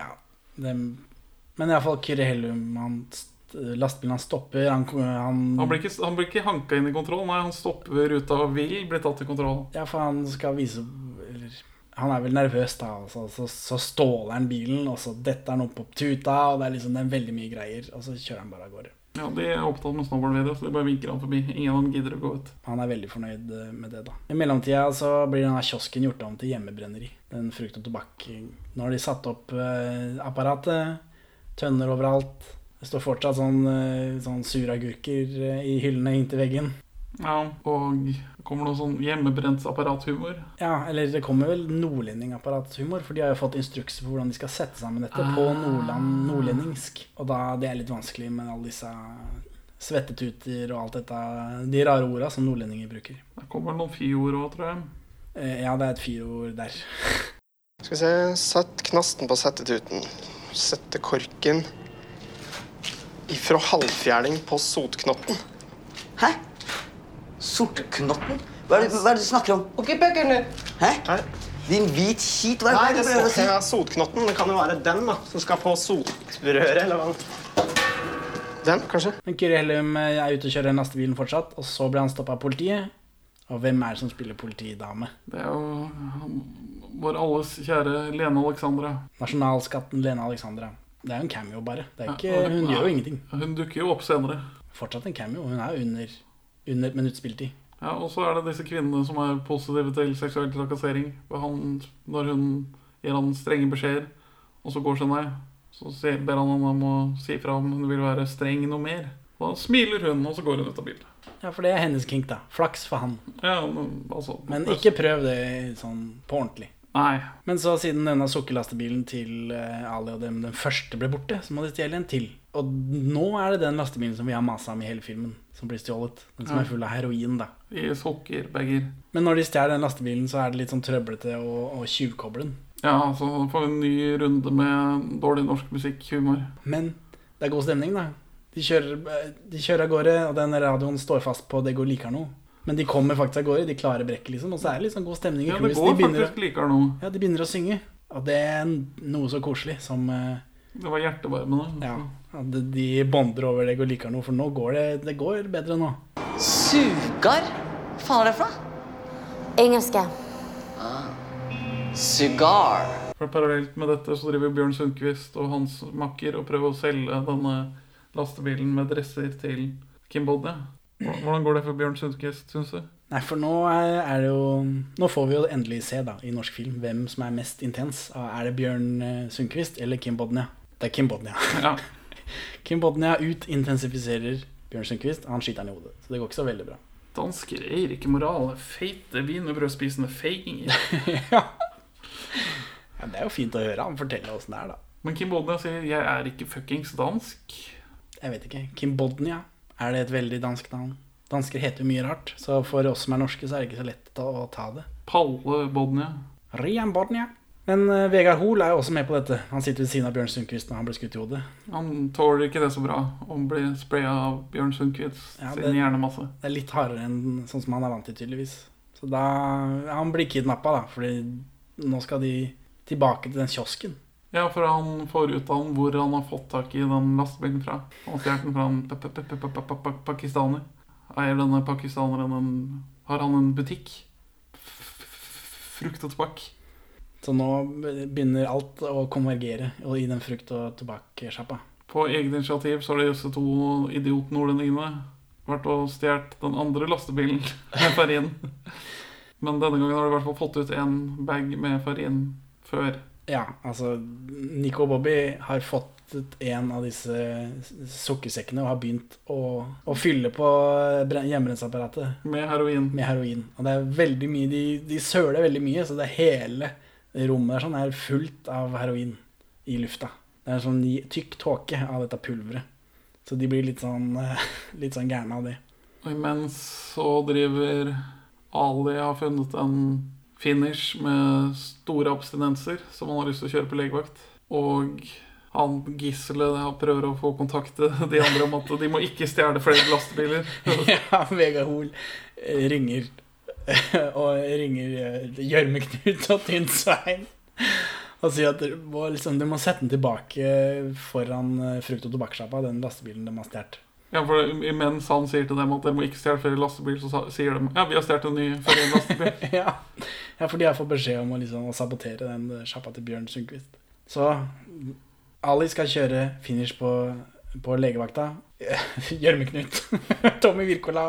Ja. Det, men iallfall Kyrre Hellum, han, st- lastebilen han stopper, han, han,
Han blir, ikke, han blir ikke hanka inn i kontroll, nei, han stopper ved ruta og vil bli tatt i kontroll.
Ja, for han skal vise eller, Han er vel nervøs, da. og Så, så, så ståler han bilen, og så detter han opp på tuta, og det er liksom det er veldig mye greier. Og så kjører han bare av gårde.
Ja, De er opptatt med snowboard-video, så de bare vinker han forbi. Ingen av dem gidder å gå ut.
Han er veldig fornøyd eh, med det, da. I mellomtida så blir denne kiosken gjort om til hjemmebrenneri. Den frukt og tobakk. eh, Nå har de satt opp eh, apparatet. Tønner overalt. Det står fortsatt sånn, eh, sånn sure agurker eh, i hyllene inntil veggen.
Ja, Og det kommer noe sånn hjemmebrentsapparat-humor.
Ja, eller det kommer vel nordlendingapparathumor, for de har jo fått instrukser for hvordan de skal sette sammen dette på nordland, nordlendingsk. Og da det er litt vanskelig med alle disse svettetuter og alt dette, de rare orda som nordlendinger bruker.
Det kommer noen fyord òg, tror jeg.
Eh, Ja, det er et fyrord der.
Skal vi se Sett knasten på settetuten. Sette korken ifra halvfjerning på sotknotten. Hæ? Sotknotten?
Hva er det, hva er det du snakker om? Ok, bøkene. Hæ? Din hvit skit, hva
Nei,
er det
det
du
står
prøver å si?
ja, sotknotten. Det kan jo være den da, som skal på sotrøret. eller hva Den, kanskje?
Men Kyrre Hellum eh, er ute og kjører lastebilen fortsatt, og så blir han stoppa av politiet. Og hvem er det som spiller politidame?
Det er jo han- vår alles kjære Lene Alexandra.
Nasjonalskatten Lene Alexandra. Det er jo en cameo, bare. Det er ikke,
Ja, og-
hun gjør jo
ja,
ingenting.
Hun dukker jo opp senere.
Fortsatt en cameo. Hun er jo under, under et minutts spilletid.
Ja, Og så er det disse kvinnene som er positive til seksuell trakassering. Og Han, når hun gir han strenge beskjeder, og så går sin vei, så sier- ber han henne om å si fra om hun vil være streng noe mer. Da smiler hun, og så går hun ut av bilen.
Ja, for det er hennes kink, da. Flaks for han.
Ja, men, altså,
Men ikke prøv det sånn på ordentlig.
Nei.
Men så siden denne sukkerlastebilen til eh, Ali og dem den første ble borte, så må de stjele en til. Og nå er det den lastebilen som vi har masa om i hele filmen, som blir stjålet. Den som
Ja.
er full av heroin, da.
I sukkerbager.
Men når de stjeler den lastebilen, så er det litt sånn trøblete å å tjuvkoble den.
Ja, så får vi en ny runde med dårlig norsk musikkhumor.
Men det er god stemning, da. De kjører, eh, de kjører av gårde, og den radioen står fast på 'Det går liker noe'. Men de kommer faktisk av gårde, de klarer brekket, liksom. Og så er det litt sånn god stemning i
Ja, det
crewet, så
går
de begynner å-
faktisk likere nå.
Ja, de begynner å synge. Og det er noe så koselig som eh,
Det var hjertevarmende.
Ja. at de bonder over deg og liker noe, for nå går det, det går bedre nå.
Sugar? Hva faen er det for noe? Ah. Engelske.
Cigar. For Parallelt med dette så driver Bjørn Sundquist og hans makker og prøver å selge denne lastebilen med dresser til Kimbodja. Hvordan hvordan går det for Bjørn Sundquist, syns du?
Nei, for nå er er det jo Nå får vi jo endelig se, da, i norsk film, hvem som er mest intens. Er det Bjørn eh, Sundquist eller Kim Bodnia? Det er Kim Bodnia. Kim Bodnia ut intensifiserer Bjørn Sundquist. Han skyter han i hodet. Så det går ikke så veldig bra.
Dansker eier ikke moral. Feite wienerbrødspisende feiginger.
Ja, det er jo fint å høre han fortelle åssen det er, da.
Men Kimbodja sier 'jeg er ikke fuckings dansk'.
Jeg vet ikke. Kim Bodnia, er det et veldig dansk navn? Dansker heter jo mye rart, så for oss som er norske, så er det ikke så lett å å ta det.
Palle Bodnia.
Rian Bodnia. Men eh, Vegard Hoel er jo også med på dette. Han sitter ved siden av Bjørn Sundquist når han blir skutt i hodet.
Han tåler ikke det så bra å bli spraya av Bjørn Sundquist
Ja,
sin
det-
hjernemasse.
Det er litt hardere enn sånn som han er vant til, tydeligvis. Så da Han blir kidnappa, da, fordi nå skal de tilbake til den kiosken.
Ja, for han får ut av han hvor han har fått tak i den lastebilen fra. Han har stjålet den fra en pa- pa- pa- pa- pa- pa- pa- pakistaner. Eier denne pakistaneren en Har han en butikk? F- f- Frukt og tobakk.
Så nå begynner alt å konvergere og i den frukt- og tobakkssjappa.
På eget initiativ så har de disse to idiotnordlendingene vært og stjålet den andre lastebilen med farin. Men denne gangen har de i hvert fall fått ut en bag med farin før.
Ja, altså Nico og Bobby har fått ut en av disse sukkersekkene og har begynt å, å fylle på bre- hjemmebrennsapparatet.
Med heroin.
Med heroin. Og det er veldig mye De, de søler veldig mye, så det hele rommet der sånn er fullt av heroin i lufta. Det er sånn i- tykk tåke av dette pulveret. Så de blir litt sånn, eh, litt sånn gærne av det.
Og imens så driver Ali har funnet en finish med store abstinenser som han har lyst til å kjøre på legevakt. Og han gisselet han prøver å få kontakte de andre om at de må ikke stjele flere lastebiler.
ja, Vegard Hoel eh, ringer og ringer eh, Gjørme-Knut og Tynnsvein og sier at dere må, liksom, de må sette den tilbake foran eh, frukt- og tobakkssjappa, den lastebilen de har stjålet.
Ja, for Imens han sier til dem at dere må ikke stjele flere lastebiler, så sa- sier de ja, vi har stjålet en ny for en lastebil.
ja. ja, fordi jeg får beskjed om å, liksom, å sabotere den eh, sjappa til Bjørn Sundquist. Så Ali skal kjøre finish på, på legevakta. Gjørmeknut, Tommy Wirkola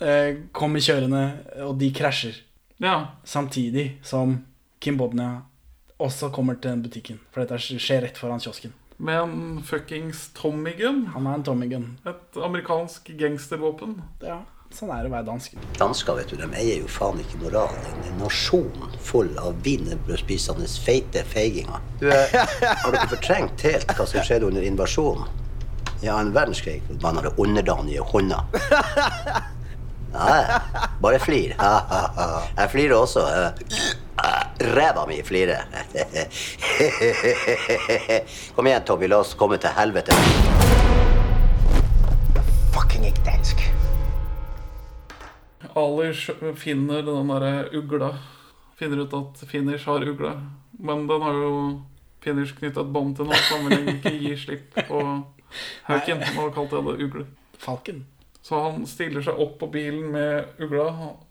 eh, kommer kjørende, og de krasjer.
Ja.
Samtidig som Kim Bodnia også kommer til den butikken. For dette skjer rett foran kiosken.
Med en fuckings Tommy Gun.
Han er en Tommy Gun.
Et amerikansk gangstervåpen.
Ja, sånn er det å være dansk.
Dansker vet du, de eier jo faen ikke moral. En nasjon full av wienerbrødspisende feite feiginger. Du, eh, har dere fortrengt helt hva som skjedde under invasjonen? Ja, en verdenskrig hvor man hadde underdanige hunder. Nei, bare flir. Ha, ha, ha. Jeg flirer også. eh. Ræva mi flirer. Kom igjen, Tommy. La oss komme til helvete.
Fucking ikke dansk.
Ali skj- finner den derre ugla. Finner ut at Finish har ugla. Men den har jo Finish knytta et bånd til nå, så han vil ikke gi slipp på hauken. Han har kalt det ugle.
Falken.
Så han stiller seg opp på bilen med ugla.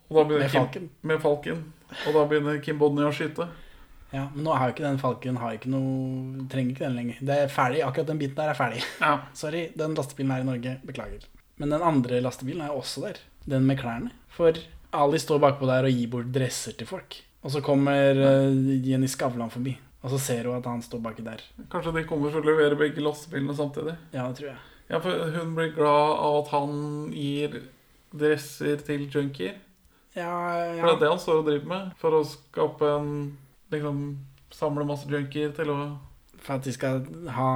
Og da begynner
Med
Kim-
falken.
Med falken. Og da begynner Kim Bodnia å skyte.
Ja, men nå har jo ikke den Falken har ikke noe, trenger ikke den lenger. Det er ferdig, Akkurat den biten der er ferdig. Sorry, den lastebilen er i Norge. Beklager. Men den andre lastebilen er jo også der. Den med klærne. For Ali står bakpå der og gir bort dresser til folk. Og så kommer eh, Jenny Skavlan forbi, og så ser hun at han står baki der.
Kanskje de kommer til å levere begge lastebilene samtidig?
Ja, det tror jeg.
Ja, for Hun blir glad av at han gir dresser til junkier.
Ja,
For det er det han står og driver med. For å skape en Liksom samle masse junkier til å
For at de skal ha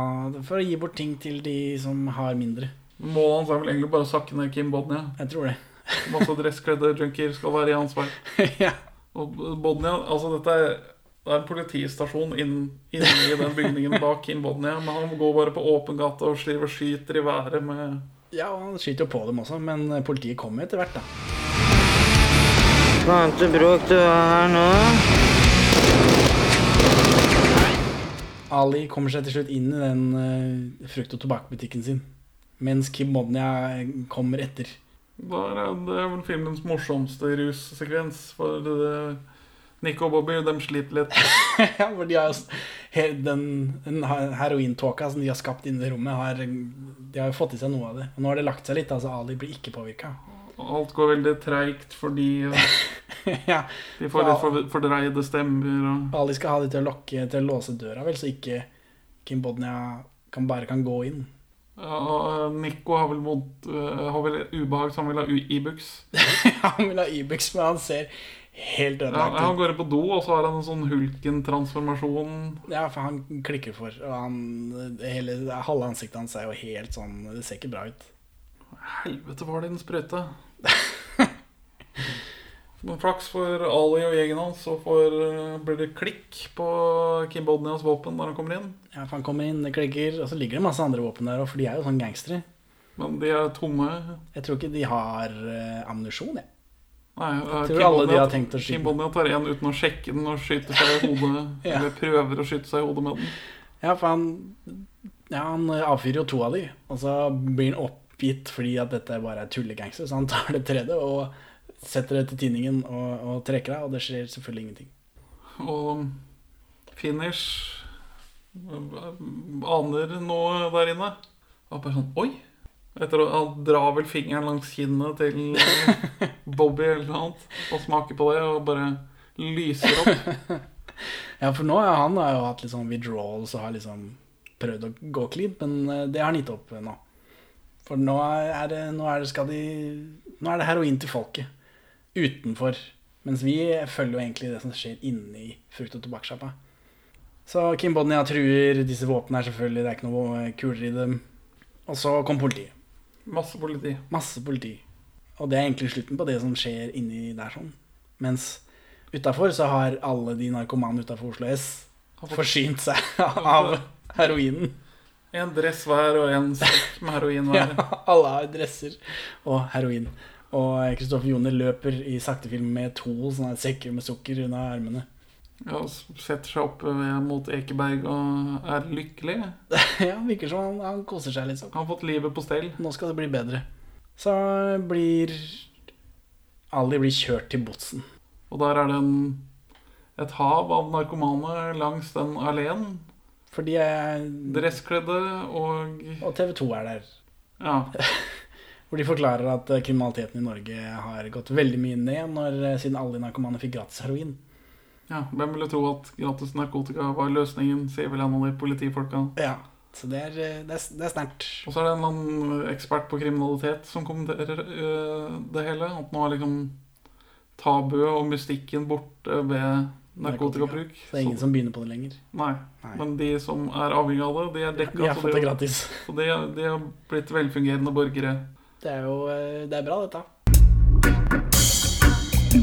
For å gi bort ting til de som har mindre.
Målet hans er vel egentlig bare å sakke ned Kim Bodnia.
Jeg tror det.
Masse dresskledde junkier skal være i hans vei. Og Bodnia Altså, dette er det er en politistasjon inn, inne i den bygningen bak Kim Bodnia. Men han går bare på åpen gate og sliver og skyter i været med
Ja, og han skyter jo på dem også, men eh, politiet kommer etter hvert, da.
Faen til bråk du har her nå.
Ali kommer seg til slutt inn i den eh, frukt- og tobakkbutikken sin. Mens Kim Bodnia eh, kommer etter.
Der er, det er vel filmens morsomste russekvens. For eh, Nico og Bobby, de sliter litt.
ja, for de har jo s- he- den, den he- herointåka som de har skapt inne i rommet, har, de har jo fått i seg noe av det. Og nå har det lagt seg litt, altså Ali blir ikke påvirka.
Alt går veldig treigt fordi eh, de får litt for- fordreide stemmer. Og...
Ali skal ha de til å lokke til å låse døra, vel, så ikke Kim Bodnia kan, bare kan gå inn.
Ja, og, eh, Nico har vel, vondt, eh, har vel ubehag, så han vil ha u- Ibux.
han vil ha Ibux, men han ser helt
Ja,
ødelagt
han
ut.
går på do, og så har han en sånn Hulken-transformasjon.
Ja, for han klikker for, og han, hele, halve ansiktet hans er jo helt sånn Det ser ikke bra ut.
Helvete, var det en sprøyte? Men flaks for Ali og gjengen hans, så får, eh, blir det klikk på Kim Bodnias våpen når han kommer inn.
Ja, for han kommer inn, det klikker, og så ligger det masse andre våpen der òg, for de er jo sånn gangstere.
Men de er tomme.
Jeg tror ikke de har eh, ammunisjon, jeg.
Nei, eh,
Jeg tror
Kim
alle de
Bodnia-
har tenkt å skyte.
Kim Bodnia tar en uten å sjekke den og skyter seg i hodet.
Ja.
Eller prøver å skyte seg i hodet med den.
Ja, for han, ja, han eh, avfyrer jo to av de, og så blir han oppgitt fordi at dette bare er tullegangster, så han tar det tredje og setter det til tinningen og, og trekker av, og det skjer selvfølgelig ingenting.
Og finish aner noe der inne. Og bare sånn Oi! Etter å, Han drar vel fingeren langs kinnet til Bobby eller noe annet og smaker på det og bare lyser opp.
Ja, for nå har han har jo hatt litt sånn withdrawals og har liksom prøvd å gå clean, men eh, det har han gitt opp nå. For nå er det, nå er det, skal de, nå er det heroin til folket. Utenfor. Mens vi følger jo egentlig det som skjer inni frukt- og tobakkssjappa. Så Kim Bodnia truer. Disse våpnene er selvfølgelig Det er ikke noe kuler i dem. Og så kom politiet.
Masse politi.
Masse politi. Og det er egentlig slutten på det som skjer inni der sånn. Mens utafor så har alle de narkomane utafor Oslo S forsynt seg av heroinen.
En dress hver og en sekk med heroin hver.
Ja, alle har dresser og heroin. Og Kristoffer Joner løper i saktefilm med to sånne sekker med sukker unna ermene.
Ja, og setter seg opp ved- mot Ekeberg og er lykkelig.
ja, virker som han, han koser seg, liksom.
Han har fått livet på stell.
Nå skal det bli bedre. Så blir Ali blir kjørt til Botsen.
Og der er det en, et hav av narkomane langs den alleen.
For de er
Dresskledde og
Og TV 2 er der.
Ja.
Hvor de forklarer at eh, kriminaliteten i Norge har gått veldig mye ned når, eh, siden alle narkomane fikk gratis heroin.
ja hvem ville tro at gratis narkotika var løsningen, sier vel en av de politifolka.
Ja, så det er, eh, det er, det er sterkt.
Og så er det en eller annen ekspert på kriminalitet som kommenterer eh, det hele. At nå er liksom tabuet og mystikken borte ved narkotikabruk.
Så det er ingen som begynner på det lenger.
Nei.
Nei.
Men de som er avhengig av det, de er dekka.
De har
så
fått det gratis.
Så de, de har blitt velfungerende borgere.
Det er jo eh, det er bra, dette.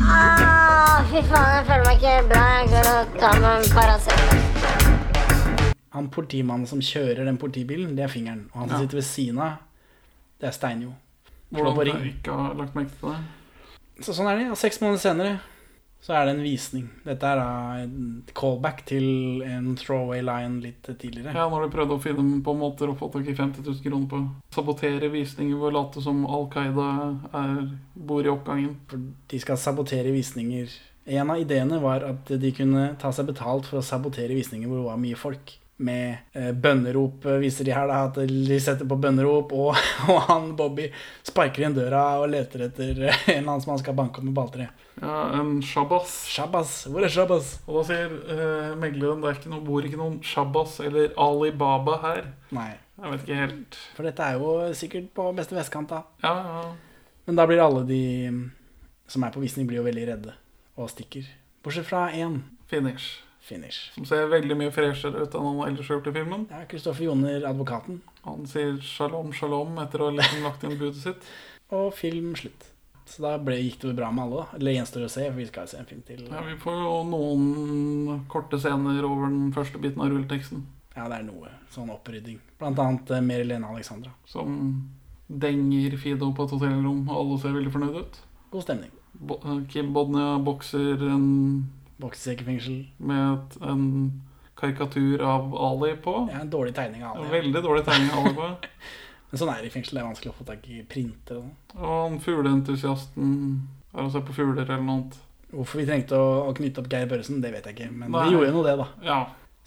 Ah, fy faen, jeg føler meg ikke bra. Jeg går og tar meg en Paracet.
Han politimannen som kjører den politibilen, det er fingeren. Og han som sitter ved siden av, det er Steinjo. Slå på
Hvordan
ring.
jeg ikke har lagt merke til det.
Så sånn er det. Og seks måneder senere så er det en visning. Dette er da en callback til en throwaway line litt tidligere.
Ja, når de prøvde å finne på måter å få tak i 50 000 kroner på. Sabotere visninger ved å late som Al Qaida er, bor i oppgangen.
De skal sabotere visninger. En av ideene var at de kunne ta seg betalt for å sabotere visninger hvor det var mye folk. Med eh, bønnerop eh, viser de her, da. At de setter på bønnerop, og, og han Bobby sparker igjen døra og leter etter eh, en eller annen som han skal banke opp med balltre.
Ja, en shabbas.
Shabbas. Hvor er shabbas?
Og da sier eh, megleren det er ikke noe, bor ikke noen shabbas eller Alibaba her.
Nei.
Jeg vet ikke helt.
For dette er jo sikkert på beste vestkant, da.
Ja, ja.
Men da blir alle de mm, som er på visning, blir jo veldig redde og stikker. Bortsett fra én.
Finish.
Finish.
Som ser veldig mye freshere ut enn han ellers har gjort i filmen.
Ja, Kristoffer Joner, advokaten.
Han sier shalom, shalom etter å ha liksom lagt inn budet sitt.
Og film slutt. Så da ble, gikk det vel bra med alle, da. Eller gjenstår å se, for vi skal jo se en film til.
Ja, vi får jo noen korte scener over den første biten av rulleteksten.
Ja, det er noe sånn opprydding. Blant annet eh, Mary Lene Alexandra.
Som denger Fido på et hotellrom, og alle ser veldig fornøyd ut.
God stemning.
Bo eh, Kim Bodnia bokser en
Boksesekkefengsel.
med et, en karikatur av Ali på.
Ja, en dårlig tegning av Ali.
Veldig dårlig tegning av Ali på.
Men sånn er det i fengsel. Det er vanskelig å få tak i printer og sånn.
Og han fugleentusiasten er og ser på fugler eller noe annet.
Hvorfor vi trengte å, å knytte opp Geir Børresen, det vet jeg ikke. Men
Nei.
vi gjorde jo det, da.
Ja.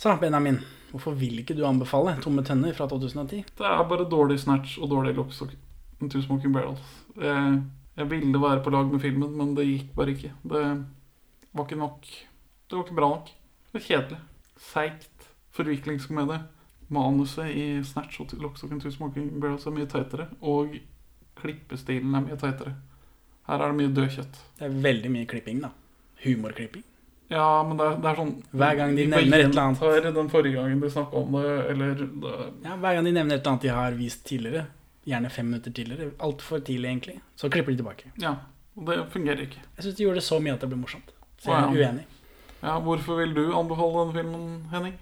Så Benjamin, hvorfor vil ikke du anbefale 'Tomme tønner' fra 2010?
Det er bare dårlig snatch og dårlig looks og Two Smoking Barrels. Jeg, jeg ville være på lag med filmen, men det gikk bare ikke. Det var ikke nok. Det var ikke bra nok. Det var kjedelig. Seigt. Forviklingskomedie. Manuset i Snatch og Locks and Two Smoking Barrels er mye tightere. Og klippestilen er mye tightere. Her er det mye dødkjøtt.
Det er veldig mye klipping, da. Humorklipping.
Ja, men det er, det er sånn
Hver gang de nevner et eller annet.
gjentar Den forrige gangen de snakka om det, eller det,
Ja, Hver gang de nevner et eller annet de har vist tidligere, gjerne fem minutter tidligere, altfor tidlig egentlig, så klipper de tilbake.
Ja. og Det fungerer ikke.
Jeg syns de gjorde det så mye at det ble morsomt. Så
Wow.
jeg er uenig.
Ja, Hvorfor vil du anbefale denne filmen, Henning?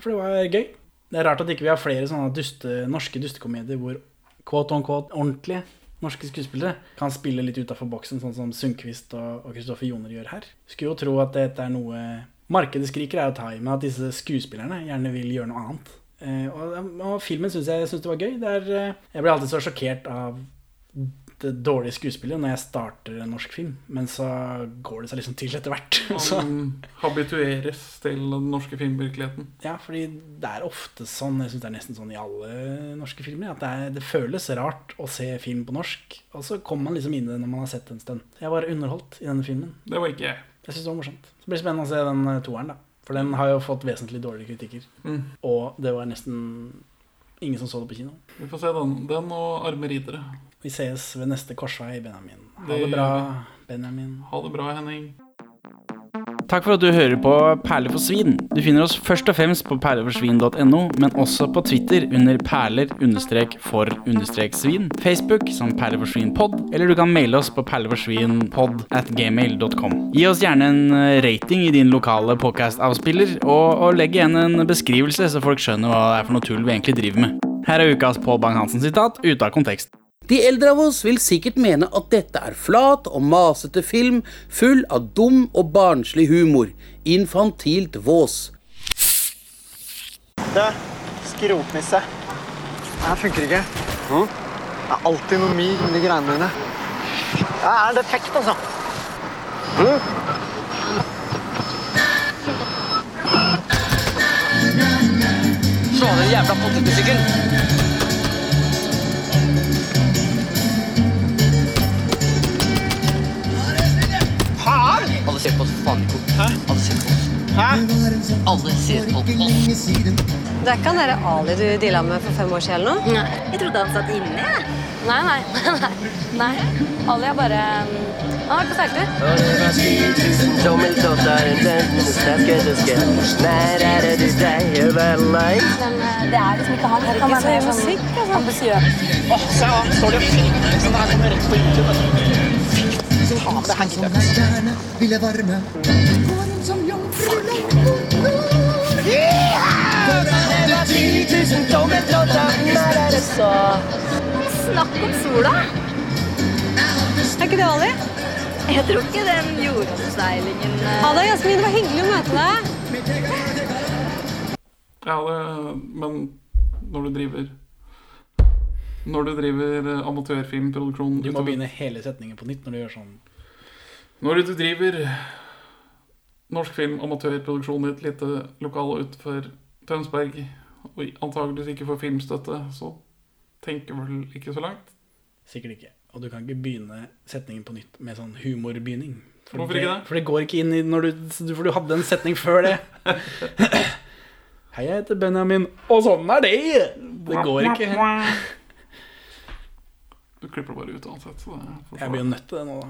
For det var gøy. Det er rart at ikke vi har flere sånne duste, norske dustekomedier hvor quote on quote ordentlige norske skuespillere kan spille litt utafor boksen, sånn som Sundquist og og Kristoffer Joner gjør her. Skulle jo tro at dette er noe Markedet skriker er å ta i, men at disse skuespillerne gjerne vil gjøre noe annet. Eh, og, og filmen syns jeg synes det var gøy. Det er, eh, jeg blir alltid så sjokkert av det dårlige skuespillet når jeg starter en norsk film, men så går det seg liksom til etter hvert. Så.
Han habitueres til den norske filmvirkeligheten.
Ja, fordi det er ofte sånn, jeg synes det er nesten sånn i alle norske filmer, at det, er, det føles rart å se film på norsk, og så kommer man liksom inn i det når man har sett det en stund. Jeg var underholdt i denne filmen.
Det var ikke jeg.
Jeg synes det var morsomt. Så blir det spennende å se den eh, toeren, da. For den har jo fått vesentlig dårlige kritikker.
Mm.
Og det var nesten ingen som så det på kino.
Vi får se den, den og Arme riddere.
Vi ses ved neste korsvei, Benjamin. Ha
Det
det
gjør
bra, Benjamin.
Ha det bra, Henning.
Takk for at du hører på Perler for svin. Du finner oss først og fremst på perleforsvin.no, men også på Twitter under perler-for-svin, Facebook som perleforsvinpod, eller du kan maile oss på perleforsvinpod at gmail.com. Gi oss gjerne en eh, rating i din lokale podcast-avspiller, og, og legg igjen en beskrivelse, så folk skjønner hva det er for noe tull vi egentlig driver med. Her er ukas Pål Bang-Hansen-sitat ute av kontekst.
De eldre av oss vil sikkert mene at dette er flat og masete film full av dum og barnslig humor. Infantilt vås.
Du, skrotnisse.
Det her funker ikke.
Hm?
Det er alltid noe myr med de greiene dine. Jeg er en defekt, altså.
Slå av den jævla potetmusikken!
Faen!
Alle ser på oss faen ikke. Alle ser på oss. Hæ? Alle ser på oss.
Det er ikke han derre Ali du deala med for fem år siden eller noe? Nei. Jeg trodde han satt inne, jeg. Nei, nei. nei. nei. Ali er bare mm, Han har vært på seiltur. Men eh, det er liksom ikke han. Han er mer sånn ambisiøs.
Åh, se han står det og filmer liksom. Det her kommer rett på YouTube. Fy faen, det her gidder jeg ikke.
Ville varme.
Snakk om sola. Er ikke det Ali? Jeg tror ikke den eh, jordseilingen Ha det, Jasmin. Det var hyggelig å møte deg.
Ja, det, men når du driver Når du driver eh, amatørfilmproduksjon
Du må begynne hele setningen på nytt når du gjør sånn.
Når du driver norsk film amatørproduksjon i et lite lokale utenfor Tønsberg, og antageligvis ikke får filmstøtte, så tenker vel ikke så langt.
Sikkert ikke. Og du kan ikke begynne setningen på nytt med sånn humorbegynning. For
Hvorfor ikke det?
For det går ikke inn i når du For du hadde en setning før det. Hei, jeg heter Benjamin, og sånn er det! Det går ikke.
Du klipper det bare ut uansett. Så det er
Jeg blir jo nødt til det nå, da.